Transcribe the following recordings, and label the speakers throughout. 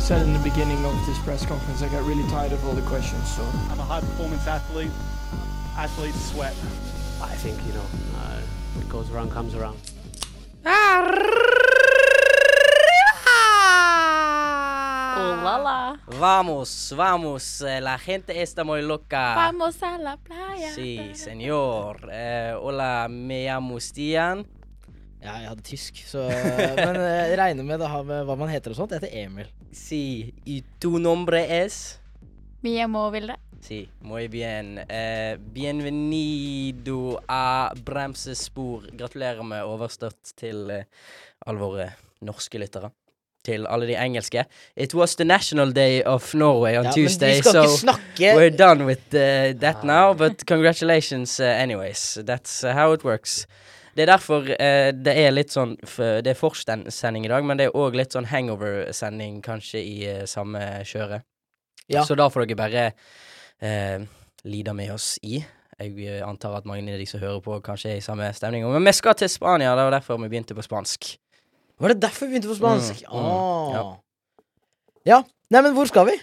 Speaker 1: said in the beginning of this press conference, I got really tired of all the questions. So
Speaker 2: I'm a high performance athlete. Athletes sweat.
Speaker 3: I think, you know, uh, what goes around comes around.
Speaker 4: Oh la la.
Speaker 5: Vamos, vamos, eh, la gente está muy loca.
Speaker 4: Vamos a la playa.
Speaker 5: Sí, señor. Eh, hola, me llamo Stian.
Speaker 6: Ja, jeg hadde tysk, så Men eh, jeg regner med det har med hva man heter og sånt. Jeg heter Emil.
Speaker 5: Sí, ¿y tu nombre es?
Speaker 4: Mi amo Vilde.
Speaker 5: Sí, muy bien. Eh, bienvenido a Bremsespor. Gratulerer med overstått til eh, alle våre norske lyttere. Til alle de engelske. It was the national day of Norway on
Speaker 6: Ja,
Speaker 5: Tuesday,
Speaker 6: men vi skal
Speaker 5: so
Speaker 6: ikke snakke
Speaker 5: we're done with uh, that now. But congratulations uh, anyways. That's uh, how it works. Det er derfor eh, det er litt sånn f- Det er forsending i dag, men det er òg litt sånn hangover-sending kanskje i eh, samme kjøret.
Speaker 6: Ja.
Speaker 5: Så da får dere bare eh, lide med oss i. Jeg eh, antar at mange av de som hører på, kanskje er i samme stemning. Men vi skal til Spania, det var derfor vi begynte på spansk.
Speaker 6: Var det derfor vi begynte på spansk?
Speaker 5: Mm, mm,
Speaker 6: Ah. ja. Nei, men hvor skal vi?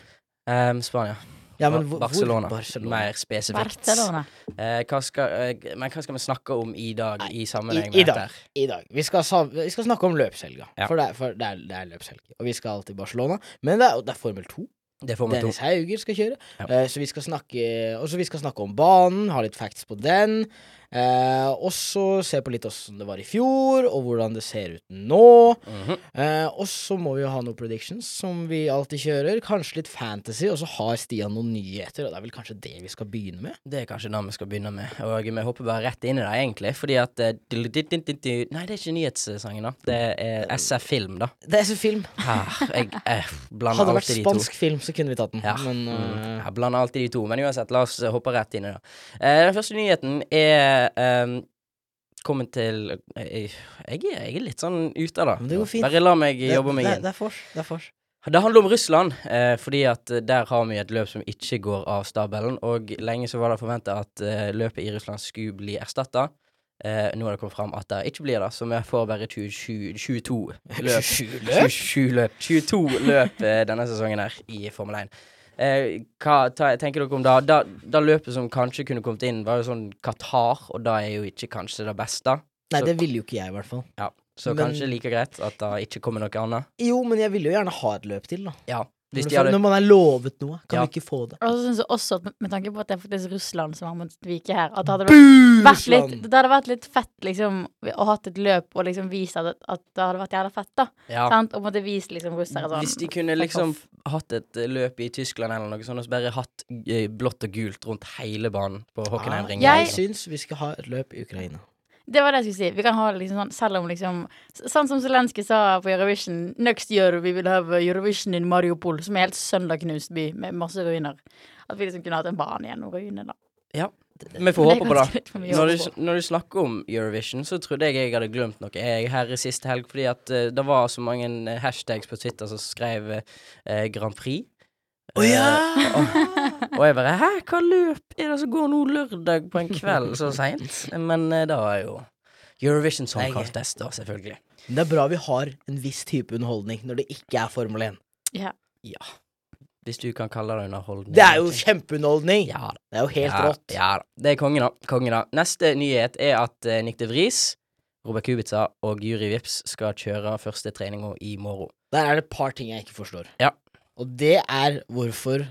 Speaker 5: Em, Um, Spania.
Speaker 6: Ja,
Speaker 5: Ba-
Speaker 6: men hvor,
Speaker 5: Barcelona.
Speaker 6: Hvor? Barcelona.
Speaker 5: Mer spesifikt.
Speaker 4: Barcelona.
Speaker 5: Eh, hva skal, eh, men hva skal vi snakke om i dag i sammenheng
Speaker 6: i-
Speaker 5: med
Speaker 6: i dag.
Speaker 5: dette? her?
Speaker 6: I dag. Vi skal, sam- vi skal snakke om løpshelga.
Speaker 5: Ja.
Speaker 6: For, det er, for det, er, det er løpshelg. Og vi skal til Barcelona. Men det er, det er Formel 2.
Speaker 5: Det får vi to.
Speaker 6: Dennis Hauger skal kjøre.
Speaker 5: Ja.
Speaker 6: Eh, så vi skal snakke Og så vi skal snakke om banen, ha litt facts på den. Eh, og så se på litt åssen det var i fjor, og hvordan det ser ut nå.
Speaker 5: Mhm.
Speaker 6: Eh, og så må vi jo ha noen predictions, som vi alltid kjører. Kanskje litt fantasy, og så har Stian noen nyheter, og det er vel kanskje det vi skal begynne med?
Speaker 5: Det er kanskje det vi skal begynne med. Og vi hopper bare rett inn i det, egentlig. Fordi at eh, du- du- du- du- du- Nei, det er ikke nyhetssangen, da. Det er SF Film, da.
Speaker 6: Det er så film.
Speaker 5: Her, jeg, jeg blander
Speaker 6: Hadde det
Speaker 5: alltid
Speaker 6: vært
Speaker 5: de to.
Speaker 6: spansk film, så kunne vi tatt den.
Speaker 5: Ja. Mhm.
Speaker 6: Men eh,
Speaker 5: Jeg blander alltid de to, men uansett, la oss eh, hoppe rett inn i det. Eh, den første nyheten er ehm, kommet til jeg, jeg, er- jeg er litt sånn ute av det.
Speaker 6: Men det går fint.
Speaker 5: Bare la meg
Speaker 6: det-
Speaker 5: jobbe meg
Speaker 6: det-
Speaker 5: inn.
Speaker 6: Det er fors. Det er fors.
Speaker 5: Det handler om Russland, eh, fordi at eh, der har vi et løp som ikke går av stabelen. Og lenge så var det forventa at eh, løpet i Russland skulle bli erstatta. Eh, nå har det kommet fram at det ikke blir det, så vi får bare 20, 22 løp.
Speaker 6: 27 løp?
Speaker 5: 27 løp. 22 løp eh, denne sesongen her i Formel 1. Eh, hva ta, tenker dere om da? da? Da løpet som kanskje kunne kommet inn, var jo sånn Qatar, og da er jo ikke kanskje det beste.
Speaker 6: Nei,
Speaker 5: Så-
Speaker 6: det ville jo ikke jeg, i hvert fall.
Speaker 5: Ja. Så
Speaker 6: Men-
Speaker 5: kanskje like greit at det ikke kommer noe annet.
Speaker 6: Jo, men jeg ville jo gjerne ha et løp til, da.
Speaker 5: Ja. Hvis
Speaker 6: Men
Speaker 5: de
Speaker 6: for
Speaker 5: hadde
Speaker 6: Når man er lovet noe, kan
Speaker 5: Ja.
Speaker 6: vi ikke få det.
Speaker 4: Og så synes jeg også, at med- med tanke på at det er faktisk Russland som har måttet vike her, at det hadde vært, vært litt,
Speaker 6: Russland!
Speaker 4: det hadde vært litt fett liksom, å hatt et løp og liksom vist at, at det hadde vært jævla fett, da.
Speaker 5: ja.
Speaker 4: Sant? Og måtte vise liksom russere sånn.
Speaker 5: Hvis de kunne
Speaker 4: fuck
Speaker 5: liksom
Speaker 4: off.
Speaker 5: hatt et eh, løp i Tyskland eller noe sånt, og så bare hatt eh, blått og gult rundt hele banen på Hockenheimringen.
Speaker 4: Ah,
Speaker 6: Jeg
Speaker 5: liksom.
Speaker 6: syns vi skal ha et løp i Ukraina.
Speaker 4: Det var det jeg skulle si. Vi kan ha det liksom sånn, selv om liksom s- Sånn som Zelenskyj sa på Eurovision Next year we will have Eurovision in Mariupol, som er helt søndagknust by med masse ruiner. At vi liksom kunne hatt en bane gjennom ruinene, da.
Speaker 5: Vi får
Speaker 4: Men det
Speaker 5: håpe
Speaker 4: er
Speaker 5: på
Speaker 4: ganske
Speaker 5: det.
Speaker 4: litt for mye å
Speaker 5: Når
Speaker 4: håpe
Speaker 5: du, når du snakker om Eurovision, så trodde jeg jeg hadde glemt noe jeg her i sist helg, fordi at eh, det var så mange eh, hashtags på Twitter som skrev eh, Grand Prix.
Speaker 6: Å ja!
Speaker 5: Eh, og, og jeg bare Hæ, hva løp er det som går nå lørdag på en kveld så seint? Men eh, det var jo Eurovision Song
Speaker 6: Nei.
Speaker 5: Contest, da, selvfølgelig.
Speaker 6: Men Det er bra vi har en viss type underholdning når det ikke er Formel 1.
Speaker 4: Ja.
Speaker 5: Hvis du kan kalle det underholdning.
Speaker 6: Det er jo kjempeunderholdning!
Speaker 5: Ja da.
Speaker 6: Det er jo helt
Speaker 5: ja,
Speaker 6: rått.
Speaker 5: Ja da. Det er kongen, da. Kongen, da. Neste nyhet er at eh, Nick de Vries, Robert Kubica og Guri Vips skal kjøre første treninga i morgen.
Speaker 6: Der er det et par ting jeg ikke forstår.
Speaker 5: Ja.
Speaker 6: Og det er hvorfor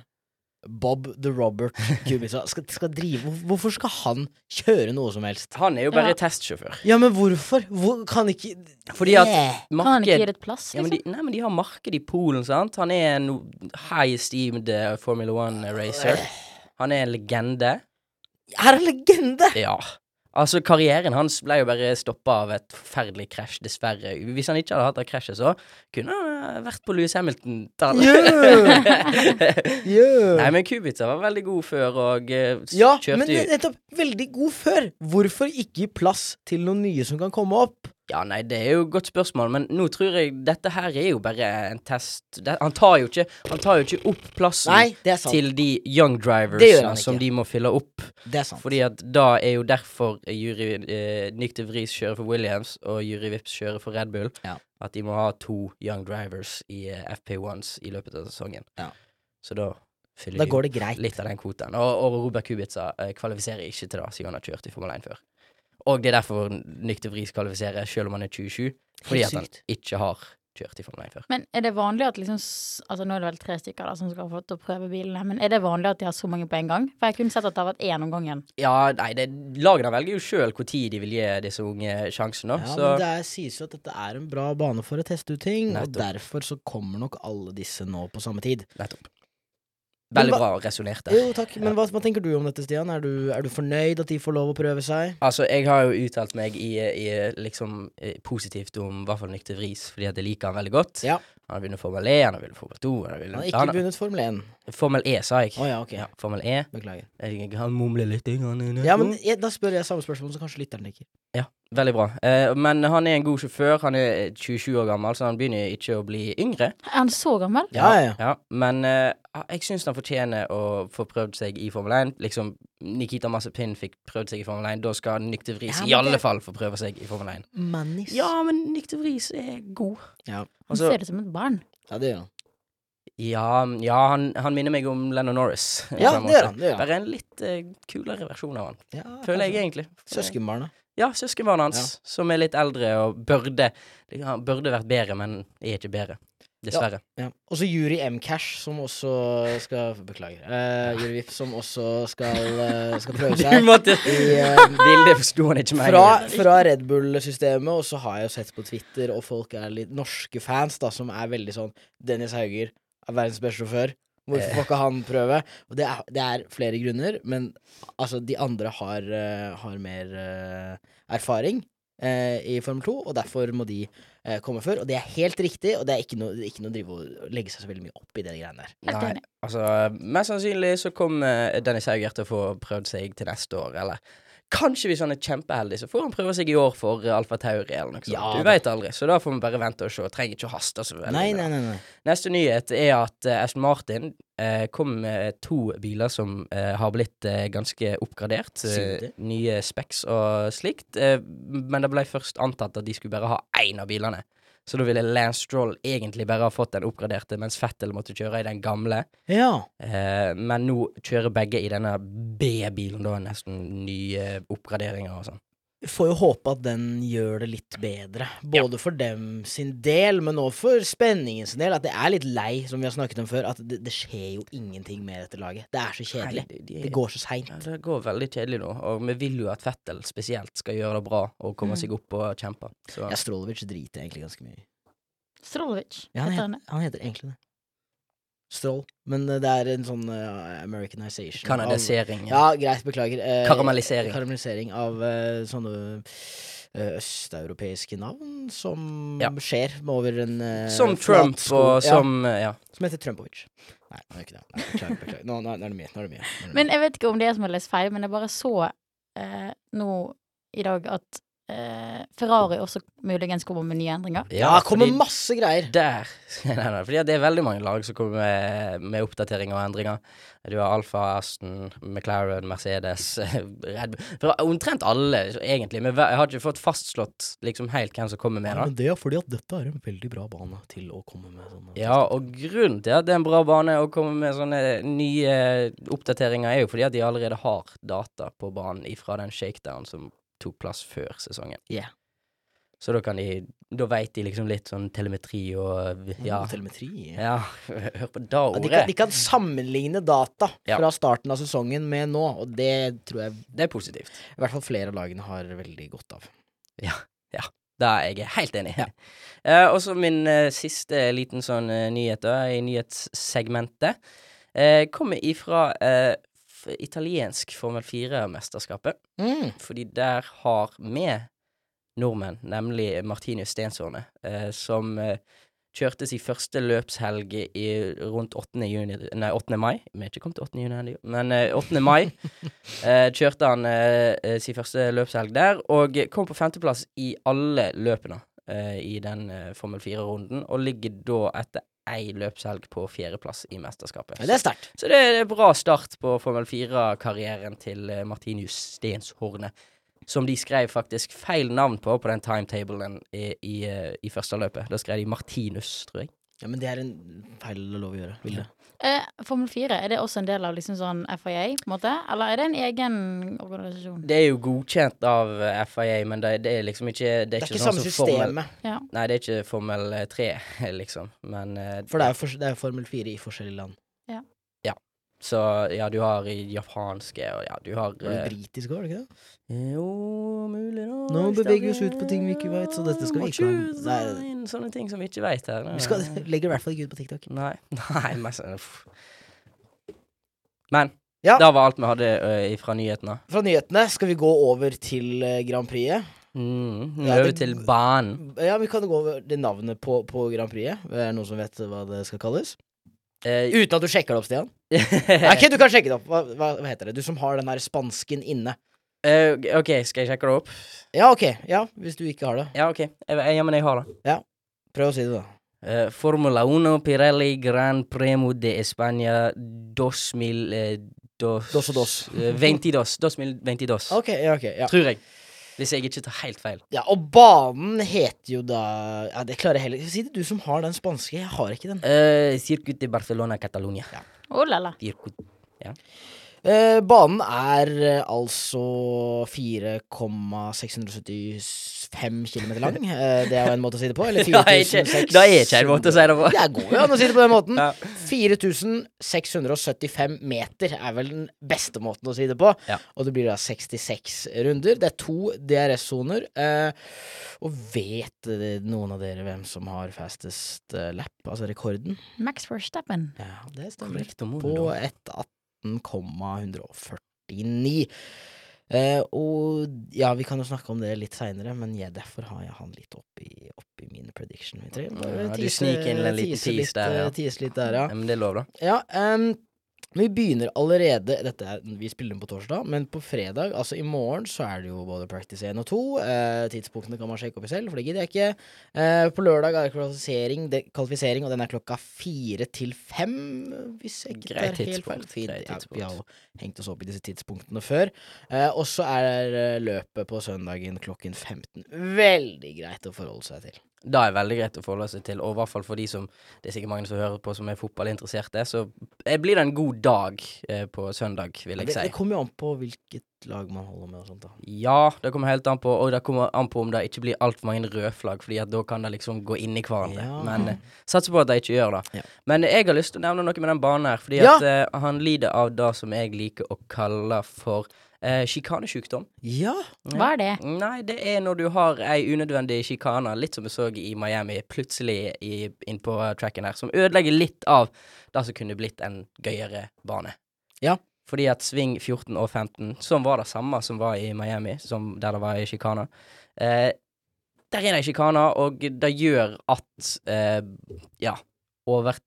Speaker 6: Bob the Robert Kubica skal, skal drive hvor- Hvorfor skal han kjøre noe som helst?
Speaker 5: Han er jo bare
Speaker 4: Ja.
Speaker 5: testsjåfør.
Speaker 6: Ja, men hvorfor? Hvor kan ikke
Speaker 5: Fordi at
Speaker 6: Eh.
Speaker 4: Kan han ikke gi
Speaker 5: marked
Speaker 4: det et plass,
Speaker 5: ja, men
Speaker 4: liksom?
Speaker 5: de, Nei, men de har marked i Polen, sant? Han er en high esteemed eh, Formula One-racer. Han er en legende.
Speaker 6: Er en legende!
Speaker 5: Ja. Altså, karrieren hans ble jo bare stoppa av et forferdelig krasj, dessverre. Hvis han ikke hadde hatt det krasjet, så kunne han eh, vært på Louis Hamilton-tallet.
Speaker 6: Yeah.
Speaker 5: Nei, men Kubica var veldig god før og eh, s-
Speaker 6: Ja, men
Speaker 5: kjørte jo
Speaker 6: det- nettopp. Veldig god før. Hvorfor ikke gi plass til noen nye som kan komme opp?
Speaker 5: Ja, nei, det er jo et godt spørsmål, men nå tror jeg dette her er jo bare en test. Det, han, tar jo ikke, han tar jo ikke opp plassen
Speaker 6: Nei, det er sant.
Speaker 5: til de young
Speaker 6: Det gjør han
Speaker 5: drivers
Speaker 6: ikke.
Speaker 5: som de må fylle opp.
Speaker 6: Det er sant.
Speaker 5: Fordi at da er jo derfor jury, eh, Nick de Vries kjører for Williams, og Jury Vips kjører for Red Bull.
Speaker 6: Ja.
Speaker 5: at de må ha to young drivers i eh, FP1s i løpet av sesongen.
Speaker 6: Ja.
Speaker 5: Så da fyller
Speaker 6: Da
Speaker 5: de
Speaker 6: går det greit.
Speaker 5: litt av den kvoten. Og, og Robert Kubica eh, kvalifiserer ikke til det, siden han har kjørt i Formel 1 før. Og det er derfor Nyk de Vries kvalifiserer, selv om han er 27, fordi
Speaker 6: Helt
Speaker 5: at han
Speaker 6: sykt.
Speaker 5: ikke har kjørt i Formel 1 før.
Speaker 4: Men er det vanlig at liksom s- Altså nå er det vel tre stykker da som skal ha fått å prøve bilene, men er det vanlig at de har så mange på en gang? For jeg kunne sett at det har vært én om gangen.
Speaker 5: Ja, nei, det, lagene velger jo sjøl når de vil gi disse unge sjansen, da.
Speaker 6: Ja,
Speaker 5: så
Speaker 6: men det er, sies jo at dette er en bra bane for å teste ut ting, og
Speaker 5: Nettopp.
Speaker 6: derfor så kommer nok alle disse nå på samme tid.
Speaker 5: nettopp.
Speaker 6: Men
Speaker 5: Veldig
Speaker 6: hva-
Speaker 5: bra resonnert der.
Speaker 6: Jo, takk, men hva, hva tenker du om dette, Stian? Er du, er du fornøyd at de får lov å prøve seg?
Speaker 5: Altså, jeg har jo uttalt meg i, i liksom eh, positivt om i hvert fall Nykter Vris, fordi at jeg liker han veldig godt.
Speaker 6: Ja.
Speaker 5: Han har vunnet Formel E, han har vunnet Formel 2 han har
Speaker 6: Han
Speaker 5: vunnet,
Speaker 6: har ikke
Speaker 5: han har-
Speaker 6: vunnet Formel 1.
Speaker 5: Formel E, sa jeg.
Speaker 6: Å ja, ok.
Speaker 5: Ja, Formel E.
Speaker 6: Beklager.
Speaker 5: Jeg, han mumler litt. jeg, Han er
Speaker 6: Ja, men jeg, Da spør jeg samme spørsmål, så kanskje lytteren ikke.
Speaker 5: Veldig bra. Eh, men han er en god sjåfør. Han er 27 år gammel, så han begynner ikke å bli yngre.
Speaker 4: Er han så gammel?
Speaker 6: Ja, ja, ja.
Speaker 5: Ja, men eh, jeg syns han fortjener å få prøvd seg i Formel 1. Liksom, Nikita Mazepin fikk prøvd seg i Formel 1. Da skal Nykter Vris
Speaker 6: Ja,
Speaker 5: i
Speaker 6: men
Speaker 5: alle
Speaker 6: det-
Speaker 5: fall få prøve seg i Formel 1.
Speaker 6: Mannis.
Speaker 5: Ja, men Nykter Vris er god.
Speaker 6: Ja.
Speaker 4: Han
Speaker 5: Altså-
Speaker 4: ser ut som et barn.
Speaker 6: Ja, det gjør han.
Speaker 5: Ja, ja han, han minner meg om Lennon Norris. på
Speaker 6: Ja,
Speaker 5: en
Speaker 6: det gjør
Speaker 5: måte.
Speaker 6: han. Det gjør han.
Speaker 5: Bare en litt eh, kulere versjon av han,
Speaker 6: Ja,
Speaker 5: føler jeg
Speaker 6: kanskje.
Speaker 5: egentlig.
Speaker 6: Søskenbarna.
Speaker 5: Ja, søskenbarnet hans, som er litt eldre og burde Han burde vært bedre, men er ikke bedre. Dessverre.
Speaker 6: Ja. Og så Juri M. Cash, som også skal Beklager. Eh, Juri Viff, som også skal, eh, skal prøve
Speaker 5: Du
Speaker 6: seg.
Speaker 5: måtte
Speaker 6: I, eh,
Speaker 5: Vilde forsto han ikke meg.
Speaker 6: fra, fra Red Bull-systemet, og så har jeg jo sett på Twitter, og folk er litt norske fans da, som er veldig sånn Dennis Hauger er verdens beste sjåfør.
Speaker 5: Eh.
Speaker 6: Hvorfor får ikke han prøve? Og det er, det er flere grunner, men altså, de andre har, eh, har mer eh, erfaring eh, i Formel 2, og derfor må de eh, komme før. Og det er helt riktig, og det er ikke noe, det er ikke noe å drive og legge seg så veldig mye opp i de greiene der.
Speaker 4: Helt
Speaker 5: Nei,
Speaker 4: enig.
Speaker 5: altså, mest sannsynlig så kommer eh, Dennis Hauger til å få prøvd seg til neste år, eller Kanskje hvis han er kjempeheldig, så får han prøve seg i år for eh, Alfa Tauri eller noe sånt.
Speaker 6: Ja,
Speaker 5: du
Speaker 6: da.
Speaker 5: veit aldri, så da får vi bare vente og se. Trenger ikke å haste så veldig.
Speaker 6: Nei,
Speaker 5: med det.
Speaker 6: nei, nei, nei.
Speaker 5: Neste nyhet er at eh, Aston Martin eh, kom med to biler som eh, har blitt eh, ganske oppgradert. Eh,
Speaker 6: Sinter.
Speaker 5: nye specs og slikt. Eh, men det ble først antatt at de skulle bare ha én av bilene. Så da ville Lance Stroll egentlig bare ha fått den oppgraderte, mens Fettel måtte kjøre i den gamle.
Speaker 6: Ja.
Speaker 5: Eh, men nå kjører begge i denne B-bilen, da. Nesten nye oppgraderinger og sånn.
Speaker 6: Vi får jo håpe at den gjør det litt bedre. Både for dem sin del, men òg for spenningen sin del. At det er litt lei, som vi har snakket om før, at det, det skjer jo ingenting med dette laget. Det er så kjedelig.
Speaker 5: Nei, de- de-
Speaker 6: Det går så seint.
Speaker 5: Ja, det går veldig kjedelig nå, og vi vil jo at Fettel spesielt skal gjøre det bra og komme
Speaker 4: Mm.
Speaker 5: seg opp og kjempe. Så.
Speaker 6: Ja, Strolovic driter jeg egentlig ganske mye i.
Speaker 4: Strolovic.
Speaker 6: Ja, han,
Speaker 4: heter han
Speaker 6: heter,
Speaker 4: det.
Speaker 6: han heter egentlig det. Stroll. Men eh, det er en sånn eh, Americanization. av-
Speaker 5: Kanadisering.
Speaker 6: Ja, greit, beklager. Eh,
Speaker 5: Karamellisering.
Speaker 6: Karamellisering av eh, sånne eh, østeuropeiske navn som
Speaker 5: Ja.
Speaker 6: skjer over en eh,
Speaker 5: Som
Speaker 6: flat
Speaker 5: Trump
Speaker 6: sko.
Speaker 5: og
Speaker 6: Ja.
Speaker 5: som eh, Ja.
Speaker 6: Som heter Trumpovic. Nei, han er ikke det. Nei, beklager, beklager. Nå, nå, nå er det mye. Nå er det mye. Nå er det mye.
Speaker 4: Men jeg vet ikke om det er som jeg har lest feil, men jeg bare så eh, nå i dag at eh, Ferrari også muligens kommer med nye endringer.
Speaker 6: ja, det kommer masse greier.
Speaker 5: der nei, nei, Fordi det er veldig mange lag som kommer med, med oppdateringer og endringer. Du har Alfa, Aston, McLaren, Mercedes Red Bull Fra Omtrent alle, så egentlig. Men hver- jeg har ikke fått fastslått liksom helt hvem som kommer med. da
Speaker 6: det er fordi at dette er en veldig bra bane til å komme med sånn, eh, sånne
Speaker 5: Ja, og grunnen til at det er en bra bane å komme med sånne nye oppdateringer, er jo fordi at de allerede har data på banen ifra den shakedown som tok plass før sesongen.
Speaker 6: Ja.
Speaker 5: Så da kan de Da veit de liksom litt sånn telemetri og Ja.
Speaker 6: Telemetri. Ja.
Speaker 5: ja hør på det
Speaker 6: de, kan,
Speaker 5: ordet.
Speaker 6: de kan sammenligne data
Speaker 5: Ja.
Speaker 6: fra starten av sesongen med nå, og det tror jeg
Speaker 5: Det er positivt.
Speaker 6: i hvert fall flere av lagene har veldig godt av.
Speaker 5: Det er jeg helt enig i. Eh, og så min eh, siste liten sånn eh, nyhet da, i nyhetssegmentet. Eh, kommer ifra eh, f italiensk Formel 4-mesterskapet.
Speaker 6: Mm.
Speaker 5: Fordi der har vi nordmenn, nemlig Martinus Stensårne, eh, som eh, kjørte sin første løpshelg i, rundt 8. Juni, nei, 8. mai. Vi er ikke kommet til 8. juni ennå, men eh, 8. mai eh, kjørte han eh, eh, sin første løpshelg der, og kom på femteplass i alle løpene eh, i den eh, Formel 4-runden, og ligger da etter ei løpshelg på fjerdeplass i mesterskapet.
Speaker 6: Men Det er sterkt.
Speaker 5: Så det er en bra start på Formel 4-karrieren til eh, Martinus Stenshorne. som de skrev faktisk feil navn på på den timetablen i, i, eh, i første løpet. Da skrev de Martinus, tror jeg.
Speaker 6: Ja, men det er en feil lov å gjøre. Vilde.
Speaker 4: Eh, Formel 4, er det også en del av liksom sånn FIA, på en måte? Eller er det en egen organisasjon?
Speaker 5: Det er jo godkjent av eh, FIA, men det, det er liksom ikke Det er,
Speaker 6: Det er ikke
Speaker 5: sånn
Speaker 6: samme
Speaker 5: som formel,
Speaker 6: systemet,
Speaker 4: Ja.
Speaker 5: Nei, det er ikke Formel 3, liksom. Men eh,
Speaker 6: for det er jo fors- det er jo Formel 4 i forskjellige land.
Speaker 5: Så ja, du har i japanske, og ja, du har
Speaker 6: Det er
Speaker 5: eh,
Speaker 6: jo britisk òg, er det ikke det?
Speaker 5: Jo, mulig da.
Speaker 6: Nå beveger vi oss ut på ting vi ikke vet, så dette skal vi ikke ha.
Speaker 5: Nei,
Speaker 6: Nei.
Speaker 5: inn sånne ting som vi ikke veit her.
Speaker 6: Vi skal, legger i hvert fall ikke ut på TikTok.
Speaker 5: Nei. Nei, mest uff. Men
Speaker 6: Ja.
Speaker 5: da var alt vi hadde ø, fra nyhetene.
Speaker 6: Fra nyhetene skal vi gå over til eh, Grand Prix.
Speaker 5: Mm. Nå
Speaker 6: Ja,
Speaker 5: over
Speaker 6: det-
Speaker 5: til banen.
Speaker 6: Ja, vi kan gå over det navnet på, på Grand Prix. Er det noen som vet hva det skal kalles?
Speaker 5: Eh,
Speaker 6: Uten at du sjekker det opp, Stian. Nei, ok, du kan sjekke det opp. Hva, hva, hva heter det? Du som har den der spansken inne.
Speaker 5: eh, OK, skal jeg sjekke det opp?
Speaker 6: Ja, ok. Ja, hvis du ikke har det.
Speaker 5: Ja, OK. Jeg, ja, men jeg har det.
Speaker 6: Prøv å si det, da.
Speaker 5: Eh, Formula 1 Pirelli Gran Premio de España 2000 eh, dos,
Speaker 6: Dos og dos.
Speaker 5: eh, 22, 2022.
Speaker 6: Ok, ja, ok. Ja.
Speaker 5: Tror jeg. Hvis jeg ikke tar helt feil.
Speaker 6: ja, og banen heter jo da Ja, det klarer jeg heller ikke. Si det, du som har den spanske. Jeg har ikke den.
Speaker 5: Eh, Circuit de Barcelona Catalunya.
Speaker 4: Oh, la, la.
Speaker 5: Circuit.
Speaker 6: Eh, banen er eh, altså 4,675 km lang. Eh, det er jo en måte å si det på. Eller
Speaker 5: Da er ikke,
Speaker 6: 4600
Speaker 5: da er ikke en måte å si det på.
Speaker 6: Det går jo an å si det på den måten.
Speaker 5: Ja.
Speaker 6: 4675 meter er vel den beste måten å si det på.
Speaker 5: Ja.
Speaker 6: Og det blir da 66 runder. Det er to DRS-soner. Eh, og vet eh, noen av dere hvem som har fastest eh, lap, altså rekorden?
Speaker 4: Max Verstappen.
Speaker 6: Ja, det stemmer
Speaker 5: Korrekt om mundo.
Speaker 6: på et 18,149. Eh, og ja, vi kan jo snakke om det litt seinere, men jeg, derfor har jeg han litt oppi, oppi min prediction. Jeg trenger bare
Speaker 5: Ja, du
Speaker 6: tease-
Speaker 5: sniker inn en liten
Speaker 6: tease
Speaker 5: tease
Speaker 6: litt,
Speaker 5: der, ja.
Speaker 6: eh, Tease litt der, ja.
Speaker 5: Ja, men det er lov, da.
Speaker 6: Ja, ehm, men vi begynner allerede dette er, Vi spiller den på torsdag, men på fredag, altså i morgen, så er det jo både practice 1 og 2. Eh, tidspunktene kan man sjekke opp i selv, for det gidder jeg ikke. Eh, på lørdag er det kvalifisering, det, kvalifisering, og den er klokka fire til fem. Hvis jeg ikke
Speaker 5: Greit
Speaker 6: tar helt
Speaker 5: tidspunkt,
Speaker 6: feil. Fint.
Speaker 5: greit
Speaker 6: Ja, vi
Speaker 5: tidspunkt.
Speaker 6: har jo hengt oss opp i disse tidspunktene før. Eh, og så er eh, løpet på søndagen klokken 15. Veldig greit å forholde seg til.
Speaker 5: Da er det veldig greit å forholde seg til, og i hvert fall for de som Det er sikkert mange som hører på som er fotballinteresserte, så eh, blir det en god dag eh, på søndag, vil
Speaker 6: Det,
Speaker 5: jeg si.
Speaker 6: det kommer jo an på hvilket lag man holder med og sånt, da.
Speaker 5: Ja, det kommer helt an på, og det kommer an på om det ikke blir altfor mange røde flagg, fordi at da kan det liksom gå inn i hverandre.
Speaker 6: Ja.
Speaker 5: Men eh, satser på at de ikke gjør det.
Speaker 6: Ja.
Speaker 5: Men jeg har lyst til å nevne noe med den banen her, fordi
Speaker 6: Ja!
Speaker 5: at eh, han lider av det som jeg liker å kalle for eh, sjikanesjukdom.
Speaker 6: Ja,
Speaker 4: Hva er det?
Speaker 5: Nei, det er når du har ei unødvendig sjikane, litt som vi så i Miami plutselig i, inn på tracken her, som ødelegger litt av det som kunne blitt en gøyere bane.
Speaker 6: Ja.
Speaker 5: Fordi at sving 14 og 15, som var det samme som var i Miami, som der det var ei sjikane eh, Der er det ei sjikane, og det gjør at eh, ja,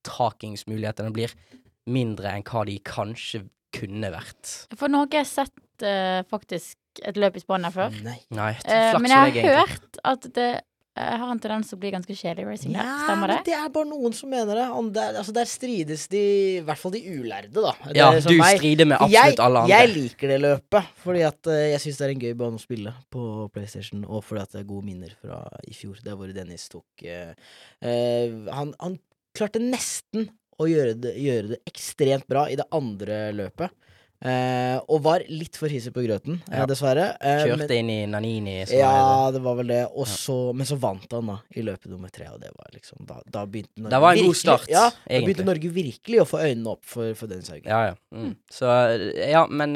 Speaker 5: overtakingsmulighetene blir mindre enn hva de kanskje kunne vært.
Speaker 4: For nå har ikke jeg sett eh, faktisk et løp i Spania før.
Speaker 6: nei.
Speaker 5: Nei,
Speaker 4: Eh,
Speaker 5: flaks
Speaker 4: men jeg
Speaker 5: for deg,
Speaker 4: har
Speaker 5: egentlig.
Speaker 4: hørt at det jeg har en tendens til å bli ganske kjedelig i racing. der.
Speaker 6: Nei,
Speaker 4: Stemmer
Speaker 6: men
Speaker 4: det?
Speaker 6: det er bare noen som mener det. An- Der, altså der strides de, i hvert fall de ulærde, da. Det
Speaker 5: Ja,
Speaker 6: er som
Speaker 5: du
Speaker 6: meg.
Speaker 5: strider med
Speaker 6: jeg,
Speaker 5: absolutt alle andre.
Speaker 6: jeg liker det løpet, fordi at eh, jeg syns det er en gøy bane å spille på PlayStation, og fordi at det er gode minner fra i fjor, der hvor Dennis tok eh, eh, han, han klarte nesten å gjøre det, gjøre det ekstremt bra i det andre løpet, eh, og var litt for hissig på grøten, eh,
Speaker 5: Ja.
Speaker 6: dessverre. eh, men-
Speaker 5: Kjørte inn i Nanini. som det heter.
Speaker 6: Ja, det var vel det. Og så, Men så vant han da i løpet nummer tre, og det var liksom Da, da begynte Norge
Speaker 5: Det var en god
Speaker 6: virkelig-
Speaker 5: start,
Speaker 6: Ja, da
Speaker 5: egentlig.
Speaker 6: begynte Norge virkelig å få øynene opp for, for Dennis Haugen.
Speaker 5: ja, ja. Mm. Så ja, men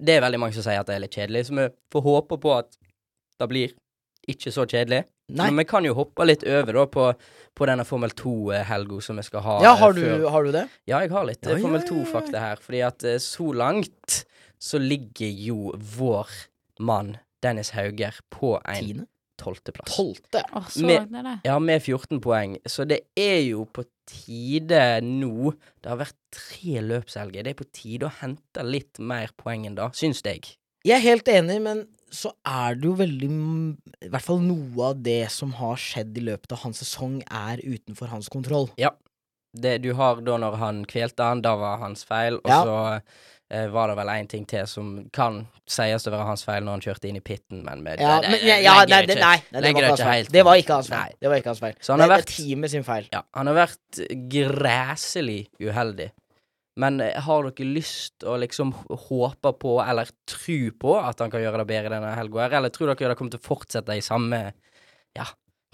Speaker 5: det er veldig mange som sier at det er litt kjedelig, så vi får håpe på at det blir ikke så kjedelig.
Speaker 6: Nei.
Speaker 5: Men vi kan jo hoppe litt over da på, på denne Formel 2-helga som vi skal ha.
Speaker 6: Ja,
Speaker 5: eh,
Speaker 6: har du,
Speaker 5: før.
Speaker 6: har du det?
Speaker 5: Ja, jeg har litt eh,
Speaker 6: Ja, ja,
Speaker 5: Formel
Speaker 6: ja, ja.
Speaker 5: 2-fakta her. Fordi at eh, så langt så ligger jo vår mann Dennis Hauger på en
Speaker 6: Tiende?
Speaker 5: tolvteplass.
Speaker 6: Tolvte?
Speaker 4: Åh, så
Speaker 5: Med-
Speaker 4: langt er det.
Speaker 5: Ja, med 14 poeng. Så det er jo på tide nå Det har vært tre løpshelger. Det er på tide å hente litt mer poeng enn da, syns jeg.
Speaker 6: Jeg er helt enig, men så er det jo veldig m- I hvert fall noe av det som har skjedd i løpet av hans sesong, er utenfor hans kontroll.
Speaker 5: Ja. det du har da når han kvelte han, da var hans feil, og
Speaker 6: Ja.
Speaker 5: så eh, var det vel en ting til som kan sies å være hans feil når han kjørte inn i pitten, men med,
Speaker 6: Ja,
Speaker 5: det-
Speaker 6: men,
Speaker 5: det-
Speaker 6: ja, ja,
Speaker 5: legger
Speaker 6: nei,
Speaker 5: jeg
Speaker 6: det,
Speaker 5: ikke-
Speaker 6: nei, nei, det
Speaker 5: legger
Speaker 6: var
Speaker 5: jeg
Speaker 6: ikke hans
Speaker 5: ikke
Speaker 6: feil.
Speaker 5: helt
Speaker 6: Det var
Speaker 5: fram.
Speaker 6: ikke hans
Speaker 5: Nei.
Speaker 6: feil. Det var ikke hans feil.
Speaker 5: Så han
Speaker 6: det
Speaker 5: har
Speaker 6: er
Speaker 5: vært-
Speaker 6: teamet sin feil.
Speaker 5: Ja, han har vært græselig uheldig. Men eh, har dere lyst å liksom h- håpe på, eller tro på, at han kan gjøre det bedre denne helga? her? Eller tror dere det kommer til å fortsette i samme, ja,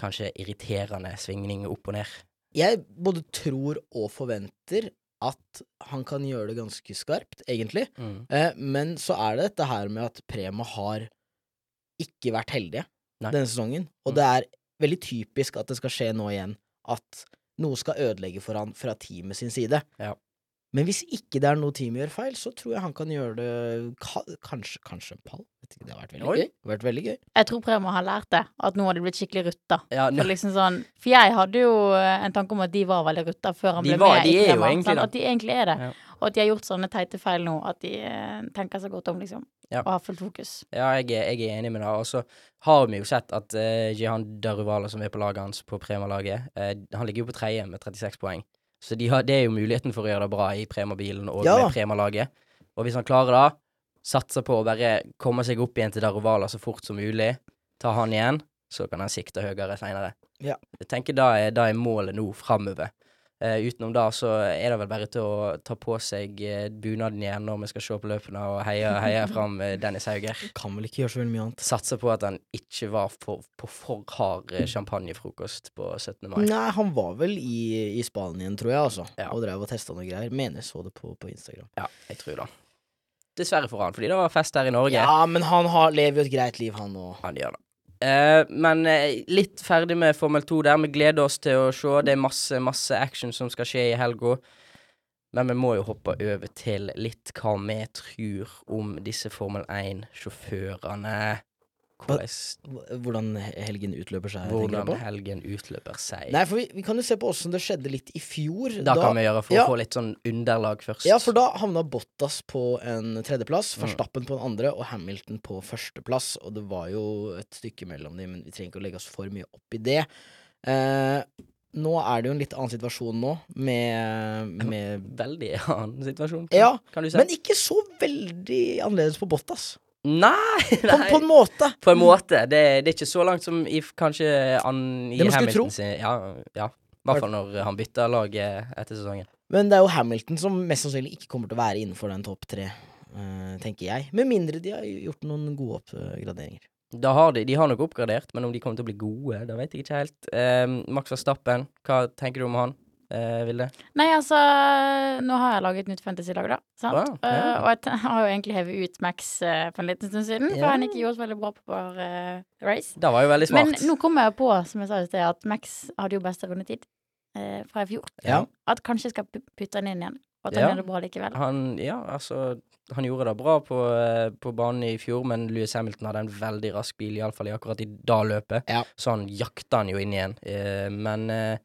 Speaker 5: kanskje irriterende svingning opp og ned?
Speaker 6: Jeg både tror og forventer at han kan gjøre det ganske skarpt, egentlig.
Speaker 5: Mm.
Speaker 6: Eh, men så er det dette her med at Prema har ikke vært heldige
Speaker 5: Nei.
Speaker 6: denne sesongen. Og
Speaker 5: Mm.
Speaker 6: det er veldig typisk at det skal skje nå igjen, at noe skal ødelegge for han fra teamet sin side.
Speaker 5: Ja.
Speaker 6: Men hvis ikke det er noe teamet gjør feil, så tror jeg han kan gjøre det ka kanskje, kanskje en pall. Vet ikke, det har vært veldig
Speaker 5: Oi.
Speaker 6: gøy. Det har vært veldig gøy.
Speaker 4: Jeg tror Prema har lært det, at nå har de blitt skikkelig rutta.
Speaker 5: Ja,
Speaker 4: For, liksom sånn, for jeg hadde jo eh, en tanke om at de var veldig rutta før han ble
Speaker 5: De var-
Speaker 4: med.
Speaker 5: de
Speaker 4: i
Speaker 5: er jo
Speaker 4: Prema,
Speaker 5: egentlig
Speaker 4: sant?
Speaker 5: det.
Speaker 4: At de egentlig er det.
Speaker 5: Ja.
Speaker 4: Og at de har gjort sånne teite feil nå, at de eh, tenker seg godt om, liksom.
Speaker 5: Ja.
Speaker 4: Og har fullt fokus.
Speaker 5: Ja, jeg er, jeg er enig med deg. Og så har vi jo sett at eh, Jihan Daruvala, som er på laget hans på Prema-laget, eh, han ligger jo på tredje med 36 poeng. Så de har, det er jo muligheten for å gjøre det bra i Prema-bilen og
Speaker 6: Ja.
Speaker 5: med Prema-laget. Og hvis han klarer det, satser på å bare komme seg opp igjen til Daruvala så fort som mulig, ta han igjen, så kan han sikte høyere seinere.
Speaker 6: Ja.
Speaker 5: Jeg tenker da er, da er målet nå framover. Eh, utenom da så er det vel bare til å ta på seg eh, bunaden igjen når vi skal se på løpene og heie, heie fram eh, Dennis Hauger
Speaker 6: Kan vel ikke gjøre så veldig mye annet.
Speaker 5: satser på at han ikke var for, på for hard eh, champagnefrokost på 17. mai.
Speaker 6: Nei, han var vel i, i Spanien, tror jeg, altså.
Speaker 5: Ja.
Speaker 6: Og drev og testa noe greier. Mener jeg så det på, på Instagram.
Speaker 5: Ja, jeg tror det. Dessverre for han, fordi det var fest her i Norge.
Speaker 6: Ja, men han har, lever jo et greit liv, han òg.
Speaker 5: Han gjør det. Eh, men eh, litt ferdig med Formel 2 der. Vi gleder oss til å se. Det er masse, masse action som skal skje i helga. Men vi må jo hoppe over til litt hva vi tror om disse Formel 1-sjåførene. Hvordan,
Speaker 6: Hvordan helgen utløper seg. tenker du
Speaker 5: hvordan
Speaker 6: på?
Speaker 5: helgen utløper seg.
Speaker 6: Nei, for vi, vi kan jo se på åssen det skjedde litt i fjor.
Speaker 5: da, kan vi gjøre for
Speaker 6: ja.
Speaker 5: å få litt sånn underlag først.
Speaker 6: ja, for da havna Bottas på en tredjeplass,
Speaker 5: Mm.
Speaker 6: Verstappen på en andre og Hamilton på førsteplass. Og det var jo et stykke mellom dem, men vi trenger ikke å legge oss for mye opp i det. Eh, nå er det jo en litt annen situasjon nå, med, med
Speaker 5: veldig annen situasjon, kan,
Speaker 6: Ja,
Speaker 5: kan du si.
Speaker 6: men ikke så veldig annerledes på Bottas.
Speaker 5: nei,
Speaker 6: På,
Speaker 5: nei.
Speaker 6: på en måte.
Speaker 5: På en måte. Det, det er ikke så langt som i f- kanskje an, i
Speaker 6: Det man skulle
Speaker 5: Hamilton
Speaker 6: tro.
Speaker 5: sin Ja, ja. I hvert fall når han bytta lag eh, etter sesongen.
Speaker 6: Men det er jo Hamilton som mest sannsynlig ikke kommer til å være innenfor den topp tre, eh, tenker jeg. Med mindre de har gjort noen gode oppgraderinger.
Speaker 5: Da har de, de har nok oppgradert, men om de kommer til å bli gode, da vet jeg ikke helt. Eh, Max Verstappen, hva tenker du om han, eh, Vilde?
Speaker 4: Nei, altså Nå har jeg laget nytt fantasy-lag, da. Sant?
Speaker 5: Wow, ja.
Speaker 4: Eh, og jeg t- har jo egentlig hevet ut Max eh, for en liten stund siden, for
Speaker 6: Ja.
Speaker 4: han ikke gjorde så veldig bra på vår eh, race.
Speaker 5: Det var jo veldig
Speaker 4: Men
Speaker 5: smart.
Speaker 4: nå kommer jeg på, som jeg sa i sted, at Max hadde jo beste rundetid eh, fra i fjor.
Speaker 5: Ja.
Speaker 4: At kanskje jeg skal pu- putte han inn igjen, og at han
Speaker 5: Ja.
Speaker 4: gjør det bra likevel.
Speaker 5: Han, ja, altså, han gjorde det bra på, eh, på banen i fjor, men Louis Hamilton hadde en veldig rask bil, iallfall akkurat i da løpet,
Speaker 6: Ja.
Speaker 5: så han jakta han jo inn igjen. Eh, men eh,